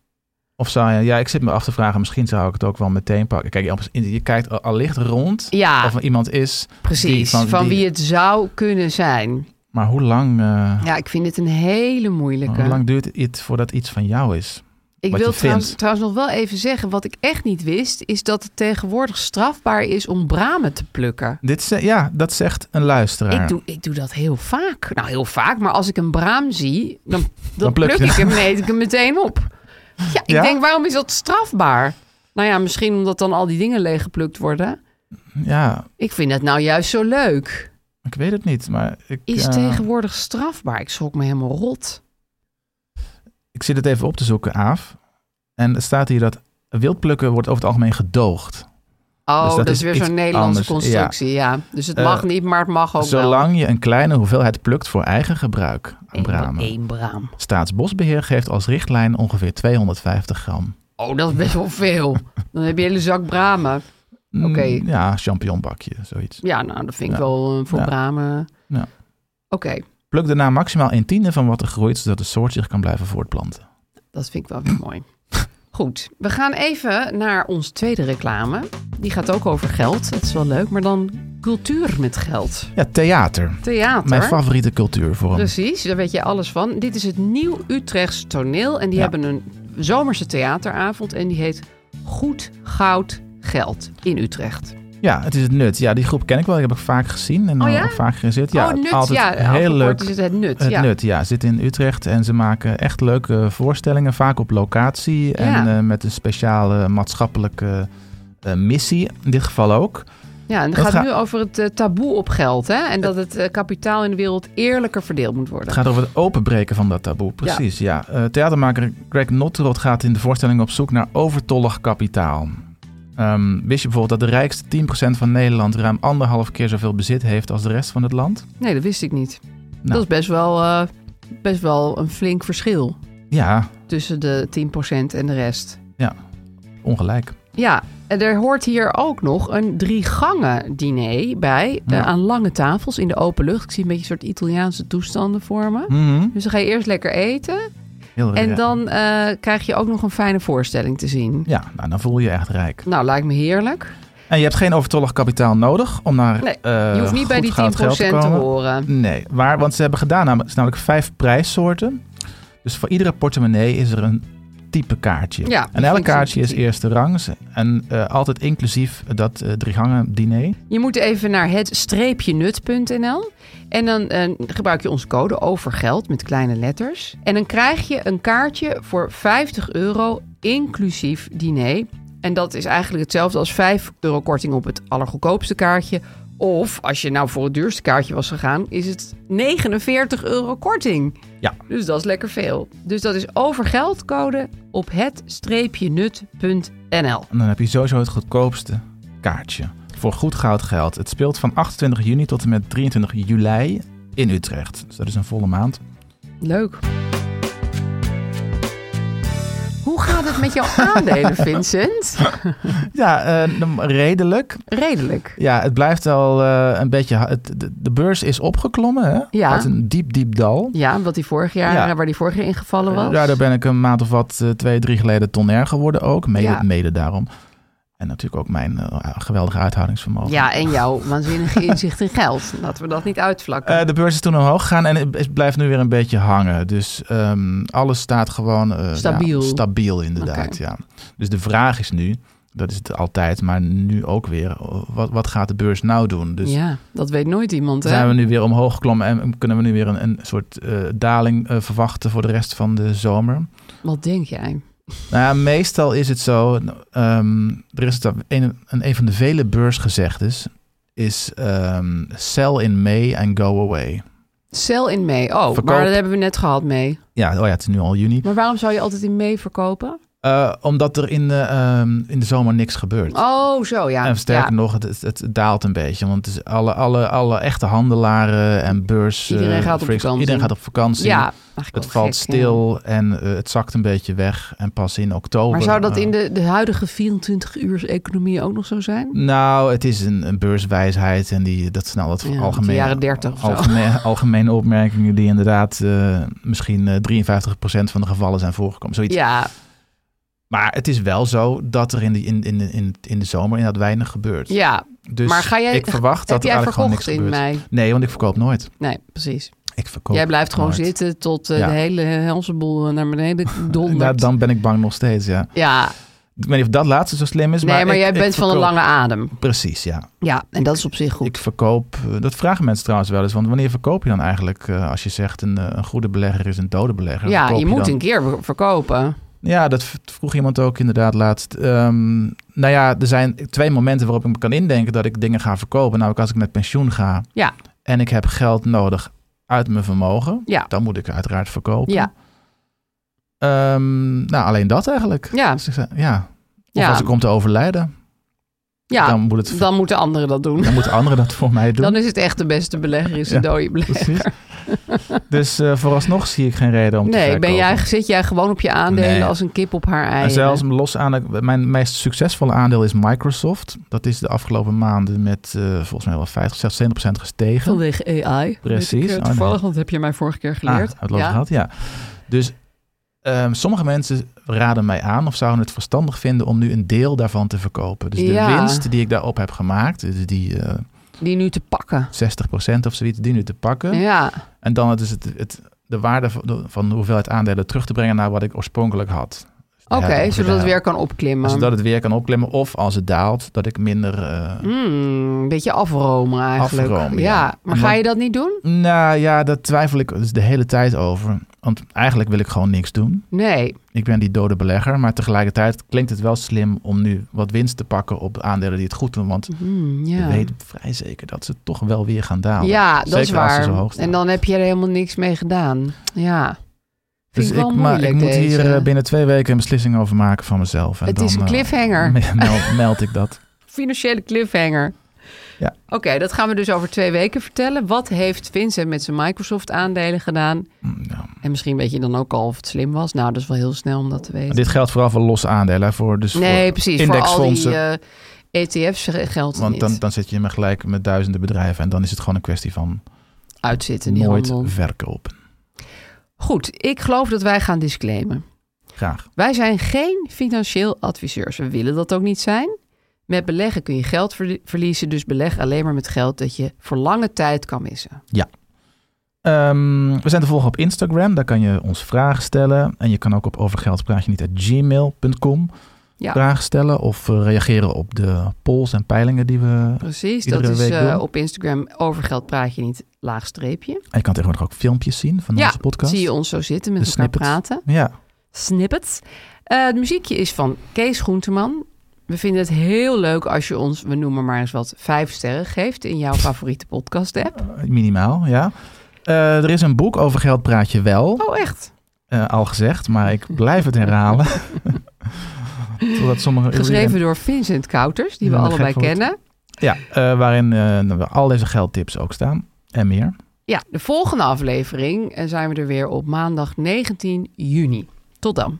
Speaker 5: Of zou je, ja, ik zit me af te vragen, misschien zou ik het ook wel meteen pakken. Kijk, anders- je kijkt al- allicht rond
Speaker 4: Ja,
Speaker 5: of er iemand is,
Speaker 4: precies.
Speaker 5: die
Speaker 4: van
Speaker 5: van- die-
Speaker 4: wie het zou kunnen zijn.
Speaker 5: maar hoe lang, eh,
Speaker 4: Ja, ik vind het een hele moeilijke.
Speaker 5: hoe lang duurt het voordat iets van jou is?
Speaker 4: Ik
Speaker 5: wat
Speaker 4: wil
Speaker 5: je
Speaker 4: trouwens,
Speaker 5: vindt.
Speaker 4: trouwens nog wel even zeggen, wat ik echt niet wist, is dat het tegenwoordig strafbaar is om bramen te plukken.
Speaker 5: Dit ze, ja, dat zegt een luisteraar.
Speaker 4: Ik doe, ik doe dat heel vaak. Nou, heel vaak, maar als ik een braam zie, dan, dan,
Speaker 5: pluk
Speaker 4: pluk
Speaker 5: je.
Speaker 4: ik hem, eet ik hem meteen op. Ja, ik
Speaker 5: Ja?
Speaker 4: denk, waarom is dat strafbaar? Nou ja, misschien omdat dan al die dingen leeggeplukt worden.
Speaker 5: Ja,
Speaker 4: Ik vind dat nou juist zo leuk.
Speaker 5: ik weet het niet, maar ik,
Speaker 4: Is
Speaker 5: eh,
Speaker 4: tegenwoordig strafbaar? Ik schrok me helemaal rot.
Speaker 5: ik zit het even op te zoeken, Aaf. En er staat hier dat wildplukken wordt over het algemeen gedoogd.
Speaker 4: Oh,
Speaker 5: Dus dat
Speaker 4: dat,
Speaker 5: is
Speaker 4: is weer
Speaker 5: iets
Speaker 4: zo'n Nederlandse
Speaker 5: anders, ja.
Speaker 4: constructie, ja. Dus het
Speaker 5: Eh,
Speaker 4: mag niet, maar het mag ook wel.
Speaker 5: Zolang je een kleine hoeveelheid plukt voor eigen gebruik aan
Speaker 4: Eén-
Speaker 5: bramen.
Speaker 4: één braam.
Speaker 5: Staatsbosbeheer geeft als richtlijn ongeveer 250 gram.
Speaker 4: Oh, dat is best wel veel. Dan heb je een hele zak bramen.
Speaker 5: Mm,
Speaker 4: Oké.
Speaker 5: Ja, champignonbakje, zoiets.
Speaker 4: Ja, nou, dat vind ik
Speaker 5: Ja.
Speaker 4: wel eh, voor
Speaker 5: Ja.
Speaker 4: bramen.
Speaker 5: Ja.
Speaker 4: Oké,
Speaker 5: Pluk daarna maximaal een tiende van wat er groeit, zodat de soort zich kan blijven voortplanten.
Speaker 4: dat vind ik wel weer mooi. Goed, we gaan even naar ons tweede reclame. Die gaat ook over geld. Dat is wel leuk, maar dan cultuur met geld.
Speaker 5: Ja, theater.
Speaker 4: Theater. Dus-
Speaker 5: Mijn favoriete cultuurvorm.
Speaker 4: Precies, daar weet je alles van. Dit is het Nieuw Utrechts Toneel. En die
Speaker 5: Ja.
Speaker 4: hebben een zomerse theateravond. En die heet Goed Goud Geld in Utrecht.
Speaker 5: Ja, het is het nut. Ja, die groep ken ik wel. Die heb ik vaak gezien en
Speaker 4: Oh
Speaker 5: eh,
Speaker 4: ja?
Speaker 5: ook vaak gezet. Ja,
Speaker 4: oh, nut.
Speaker 5: altijd
Speaker 4: ja,
Speaker 5: heel leuk.
Speaker 4: Is het, het nut.
Speaker 5: Het
Speaker 4: ja.
Speaker 5: nut, ja. Zit in Utrecht en ze maken echt leuke voorstellingen, vaak op locatie en
Speaker 4: Ja.
Speaker 5: eh, met een speciale maatschappelijke eh, missie, in dit geval ook.
Speaker 4: Ja, en het
Speaker 5: Dat
Speaker 4: gaat
Speaker 5: ga-
Speaker 4: nu over het eh, taboe op geld. Hè? En dat het eh, kapitaal in de wereld eerlijker verdeeld moet worden.
Speaker 5: Het gaat over het openbreken van dat taboe, precies. Ja. Eh, theatermaker Greg Notrot gaat in de voorstelling op zoek naar overtollig kapitaal. Ehm, wist je bijvoorbeeld dat de rijkste 10% van Nederland ruim anderhalf keer zoveel bezit heeft als de rest van het land?
Speaker 4: Nee, dat wist ik niet.
Speaker 5: Nou.
Speaker 4: Dat is best wel, eh, best wel een flink verschil
Speaker 5: Ja,
Speaker 4: tussen de 10% en de rest.
Speaker 5: ongelijk.
Speaker 4: Ja, en er hoort hier ook nog een drie gangen diner bij. eh,
Speaker 5: Ja.
Speaker 4: aan lange tafels in de open lucht. Ik zie een beetje een soort Italiaanse toestanden vormen.
Speaker 5: Mhm.
Speaker 4: Dus dan ga je eerst lekker
Speaker 5: Oh,
Speaker 4: eten.
Speaker 5: Heel
Speaker 4: En
Speaker 5: raar.
Speaker 4: dan eh, krijg je ook nog een fijne voorstelling te zien.
Speaker 5: Ja, nou, dan voel je je echt rijk.
Speaker 4: Nou, lijkt me heerlijk.
Speaker 5: En je hebt geen overtollig kapitaal nodig om naar
Speaker 4: Nee,
Speaker 5: eh,
Speaker 4: Je hoeft niet bij
Speaker 5: goed
Speaker 4: die 10%
Speaker 5: goud geld
Speaker 4: te
Speaker 5: komen.
Speaker 4: horen.
Speaker 5: Nee, waar, want ze hebben gedaan nam- is namelijk vijf prijssoorten. Dus voor iedere portemonnee is er een type kaartje.
Speaker 4: Ja, dat
Speaker 5: en
Speaker 4: vind
Speaker 5: elk
Speaker 4: ik zo
Speaker 5: kaartje is
Speaker 4: sympathiek.
Speaker 5: eerste rangs. En eh, altijd inclusief dat eh driegangen diner.
Speaker 4: Je moet even naar het-nut.nl en dan eh, gebruik je onze code overgeld met kleine letters. En dan krijg je een kaartje voor 50 euro inclusief diner. En dat is eigenlijk hetzelfde als 5 euro korting op het allergoedkoopste kaartje. Of als je nou voor het duurste kaartje was gegaan, is het 49 euro korting.
Speaker 5: Ja.
Speaker 4: Dus dat is lekker veel. Dus dat is overgeldcode op het-nut.nl.
Speaker 5: En dan heb je sowieso het goedkoopste kaartje. Voor goed goud geld. Het speelt van 28 juni tot en met 23 juli in Utrecht. Dus dat is een volle maand.
Speaker 4: Leuk. Hoe gaat het met jouw aandelen, Vincent?
Speaker 5: Ja, eh, dan redelijk.
Speaker 4: Redelijk.
Speaker 5: Ja, het blijft wel eh, een beetje... ha- Het, de, de beurs is opgeklommen, hè?
Speaker 4: Ja.
Speaker 5: Uit een diep, diep dal.
Speaker 4: Ja, wat die vorig jaar,
Speaker 5: Ja.
Speaker 4: waar die vorig jaar ingevallen was.
Speaker 5: Eh, Daardoor ben ik een maand of wat, eh, twee, drie geleden tonair geworden ook. Mede,
Speaker 4: Ja.
Speaker 5: mede daarom. En natuurlijk ook mijn eh, geweldige uithoudingsvermogen.
Speaker 4: Ja, en jouw waanzinnige inzicht in geld. Laten we dat niet uitvlakken.
Speaker 5: Eh, de beurs is toen omhoog gegaan en het is- blijft nu weer een beetje hangen. Dus ehm, alles staat gewoon eh,
Speaker 4: Stabiel.
Speaker 5: ja, stabiel, inderdaad.
Speaker 4: Oké.
Speaker 5: Ja. Dus de vraag is nu, dat is het altijd, maar nu ook weer, wat, wat gaat de beurs nou doen? Dus
Speaker 4: ja, dat weet nooit iemand. Hè?
Speaker 5: zijn we nu weer omhoog geklommen en kunnen we nu weer een, een soort eh, daling eh, verwachten voor de rest van de zomer?
Speaker 4: Wat denk jij?
Speaker 5: Nou ja, meestal is het zo. ehm, er is het, een, een, een van de vele beursgezegdes. Is ehm, sell in May and go away.
Speaker 4: Sell in mei. Oh,
Speaker 5: Verkoop.
Speaker 4: maar dat hebben we net gehad mee.
Speaker 5: Ja, oh ja, het is nu al juni.
Speaker 4: Maar waarom zou je altijd in mei verkopen?
Speaker 5: Eh, omdat er in de, ehm, in de zomer niks gebeurt.
Speaker 4: Oh, zo ja.
Speaker 5: en sterker
Speaker 4: Ja,
Speaker 5: nog, het, het, het daalt een beetje. Want het is alle, alle, alle echte handelaren en beurs. eh,
Speaker 4: Iedereen gaat op
Speaker 5: freaks,
Speaker 4: vakantie.
Speaker 5: Iedereen gaat op vakantie.
Speaker 4: ja eigenlijk
Speaker 5: het
Speaker 4: wel
Speaker 5: valt
Speaker 4: gek, hè?
Speaker 5: stil en eh, het zakt een beetje weg. En pas in oktober.
Speaker 4: Maar zou dat
Speaker 5: eh,
Speaker 4: in de, de huidige 24 uur economie ook nog zo zijn?
Speaker 5: Nou, het is een, een beurswijsheid en die, dat zijn al dat
Speaker 4: Ja, uit de
Speaker 5: algemeen,
Speaker 4: jaren 30 of zo.
Speaker 5: algemeen, algemene opmerkingen die inderdaad eh, misschien eh, 53% van de gevallen zijn voorgekomen. Zoiets.
Speaker 4: Ja,
Speaker 5: Maar het is wel zo dat er in, die, in, in, de- in, in de zomer inderdaad weinig gebeurt.
Speaker 4: ja.
Speaker 5: Dus
Speaker 4: maar ga jij,
Speaker 5: ik verwacht
Speaker 4: heb
Speaker 5: dat er
Speaker 4: jij
Speaker 5: eigenlijk gewoon
Speaker 4: verkocht
Speaker 5: niks
Speaker 4: in
Speaker 5: gebeurt.
Speaker 4: mei?
Speaker 5: Nee, want ik verkoop nooit.
Speaker 4: Nee, precies.
Speaker 5: Ik verkoop
Speaker 4: jij blijft gewoon
Speaker 5: nooit.
Speaker 4: zitten tot eh,
Speaker 5: Ja.
Speaker 4: de hele helseboel eh, naar beneden dondert.
Speaker 5: Ja, dan ben ik bang nog steeds, ja.
Speaker 4: Ja,
Speaker 5: Ik weet niet of dat laatste zo slim is,
Speaker 4: nee, maar,
Speaker 5: maar ik-
Speaker 4: jij
Speaker 5: ik
Speaker 4: bent van een
Speaker 5: verkoop-
Speaker 4: lange adem.
Speaker 5: Precies, ja.
Speaker 4: Ja, en dat is op zich goed.
Speaker 5: Ik verkoop, eh, dat vragen mensen trouwens wel eens, want wanneer verkoop je dan eigenlijk, eh, als je zegt een, eh, een goede belegger is een dode belegger?
Speaker 4: ja,
Speaker 5: verkoop
Speaker 4: je moet
Speaker 5: dan-
Speaker 4: een keer ver- verkopen.
Speaker 5: Ja, dat v- vroeg iemand ook inderdaad laatst. Ehm, nou ja, er zijn twee momenten waarop ik me kan indenken dat ik dingen ga verkopen. Namelijk als ik met pensioen ga
Speaker 4: Ja.
Speaker 5: en ik heb geld nodig uit mijn vermogen,
Speaker 4: Ja.
Speaker 5: dan moet ik uiteraard verkopen.
Speaker 4: Ja.
Speaker 5: Ehm, nou, alleen dat eigenlijk.
Speaker 4: Ja.
Speaker 5: Dus ik zei, ja. Of
Speaker 4: Ja.
Speaker 5: als ik kom te overlijden,
Speaker 4: Ja,
Speaker 5: dan
Speaker 4: dan,
Speaker 5: moet het...
Speaker 4: moeten anderen dat doen.
Speaker 5: dan moeten anderen dat voor mij doen.
Speaker 4: Dan is het echt de beste belegger, is de
Speaker 5: Ja,
Speaker 4: dode belegger.
Speaker 5: Precies. dus eh, vooralsnog zie ik geen reden om te
Speaker 4: Nee,
Speaker 5: verkopen.
Speaker 4: ben jij, zit jij gewoon op je aandelen
Speaker 5: Nee.
Speaker 4: als een kip op haar
Speaker 5: En
Speaker 4: eieren?
Speaker 5: zelfs los aan, mijn meest succesvolle aandeel is Microsoft. Dat is de afgelopen maanden met eh, volgens mij wel 50, 60, 70 gestegen.
Speaker 4: Vanwege AI.
Speaker 5: Precies.
Speaker 4: Weet Ik, eh,
Speaker 5: Oh,
Speaker 4: toevallig,
Speaker 5: nee.
Speaker 4: want dat heb je mij vorige keer
Speaker 5: Ah,
Speaker 4: geleerd.
Speaker 5: het lood
Speaker 4: ja.
Speaker 5: gehad, ja. Dus ehm, sommige mensen raden mij aan of zouden het verstandig vinden om nu een deel daarvan te verkopen. Dus de
Speaker 4: Ja.
Speaker 5: winst die ik daarop heb gemaakt, dus die eh,
Speaker 4: Die nu te pakken.
Speaker 5: 60% of zoiets, die nu te pakken.
Speaker 4: Ja,
Speaker 5: En dan het is het, het, de waarde van de, van de hoeveelheid aandelen terug te brengen naar wat ik oorspronkelijk had. Dus de
Speaker 4: oké,
Speaker 5: helft,
Speaker 4: zodat het
Speaker 5: de
Speaker 4: weer kan
Speaker 5: Maar
Speaker 4: opklimmen.
Speaker 5: Zodat het weer kan opklimmen. Of als het daalt, dat ik minder... eh,
Speaker 4: Hmm, een beetje afromen eigenlijk.
Speaker 5: Afromen,
Speaker 4: ja.
Speaker 5: ja.
Speaker 4: maar
Speaker 5: En
Speaker 4: ga
Speaker 5: dan-
Speaker 4: je dat niet doen?
Speaker 5: Nou ja, daar twijfel ik dus de hele tijd over. Want eigenlijk wil ik gewoon niks doen.
Speaker 4: Nee.
Speaker 5: Ik ben die dode belegger. Maar tegelijkertijd klinkt het wel slim om nu wat winst te pakken op aandelen die het goed doen. Want
Speaker 4: Hmm, ja.
Speaker 5: je weet vrij zeker dat ze toch wel weer gaan dalen.
Speaker 4: Ja, dat
Speaker 5: Zeker
Speaker 4: is
Speaker 5: als ze
Speaker 4: waar.
Speaker 5: zo hoog staan.
Speaker 4: en dan heb je er helemaal niks mee gedaan. Ja. Vind
Speaker 5: dus
Speaker 4: ik wel
Speaker 5: ik, maar
Speaker 4: moeilijk
Speaker 5: ik moet hier
Speaker 4: deze.
Speaker 5: eh, binnen twee weken een beslissing over maken van mezelf. En
Speaker 4: Het
Speaker 5: dan,
Speaker 4: is een
Speaker 5: eh,
Speaker 4: cliffhanger.
Speaker 5: me- meld, meld ik dat.
Speaker 4: Financiële cliffhanger.
Speaker 5: Ja.
Speaker 4: Oké, dat gaan we dus over twee weken vertellen. Wat heeft Vincent met zijn Microsoft-aandelen gedaan?
Speaker 5: Mm, ja.
Speaker 4: En misschien weet je dan ook al of het slim was. Nou, dat is wel heel snel om dat te weten.
Speaker 5: Maar Dit geldt vooral voor losse aandelen. hè, Voor, dus
Speaker 4: nee,
Speaker 5: voor
Speaker 4: precies. Voor al
Speaker 5: indexfondsen.
Speaker 4: die eh, ETF's geldt het
Speaker 5: Want
Speaker 4: niet.
Speaker 5: dan, dan zit je me gelijk met duizenden bedrijven. En dan is het gewoon een kwestie van
Speaker 4: Uitzitten, die
Speaker 5: nooit
Speaker 4: handel.
Speaker 5: verkopen.
Speaker 4: Goed, ik geloof dat wij gaan disclaimen.
Speaker 5: Graag.
Speaker 4: Wij zijn geen financieel adviseurs. We willen dat ook niet zijn. Met beleggen kun je geld verlie- verliezen, dus beleg alleen maar met geld dat je voor lange tijd kan missen.
Speaker 5: Ehm, we zijn te volgen op Instagram. Daar kan je ons vragen stellen. En je kan ook op overgeldpraatje niet gmail.com
Speaker 4: Ja.
Speaker 5: vragen stellen. Of eh, reageren op de polls en peilingen die we...
Speaker 4: Precies,
Speaker 5: Iedere
Speaker 4: dat is
Speaker 5: week
Speaker 4: eh,
Speaker 5: doen.
Speaker 4: op Instagram over geld praat je niet, laagstreepje.
Speaker 5: En je kan tegenwoordig ook filmpjes zien van
Speaker 4: Ja,
Speaker 5: onze podcast.
Speaker 4: zie je ons zo zitten met
Speaker 5: De
Speaker 4: elkaar
Speaker 5: snippets.
Speaker 4: praten.
Speaker 5: Ja,
Speaker 4: Snippets. Eh, het muziekje is van Kees Groenteman. We vinden het heel leuk als je ons, we noemen maar eens wat, vijf sterren geeft in jouw favoriete podcast app.
Speaker 5: minimaal, ja. Eh, er is een boek over geld praat je wel.
Speaker 4: Oh, echt?
Speaker 5: eh, al gezegd, maar ik blijf het herhalen. Totdat sommige
Speaker 4: Geschreven door Vincent Kouters, die we
Speaker 5: Ja,
Speaker 4: allebei
Speaker 5: gek voor het.
Speaker 4: kennen.
Speaker 5: Ja, eh, waarin eh, al deze geldtips ook staan. En meer.
Speaker 4: Ja, de volgende aflevering eh, zijn we er weer op maandag 19 juni. Tot dan.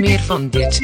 Speaker 4: Meer van dit.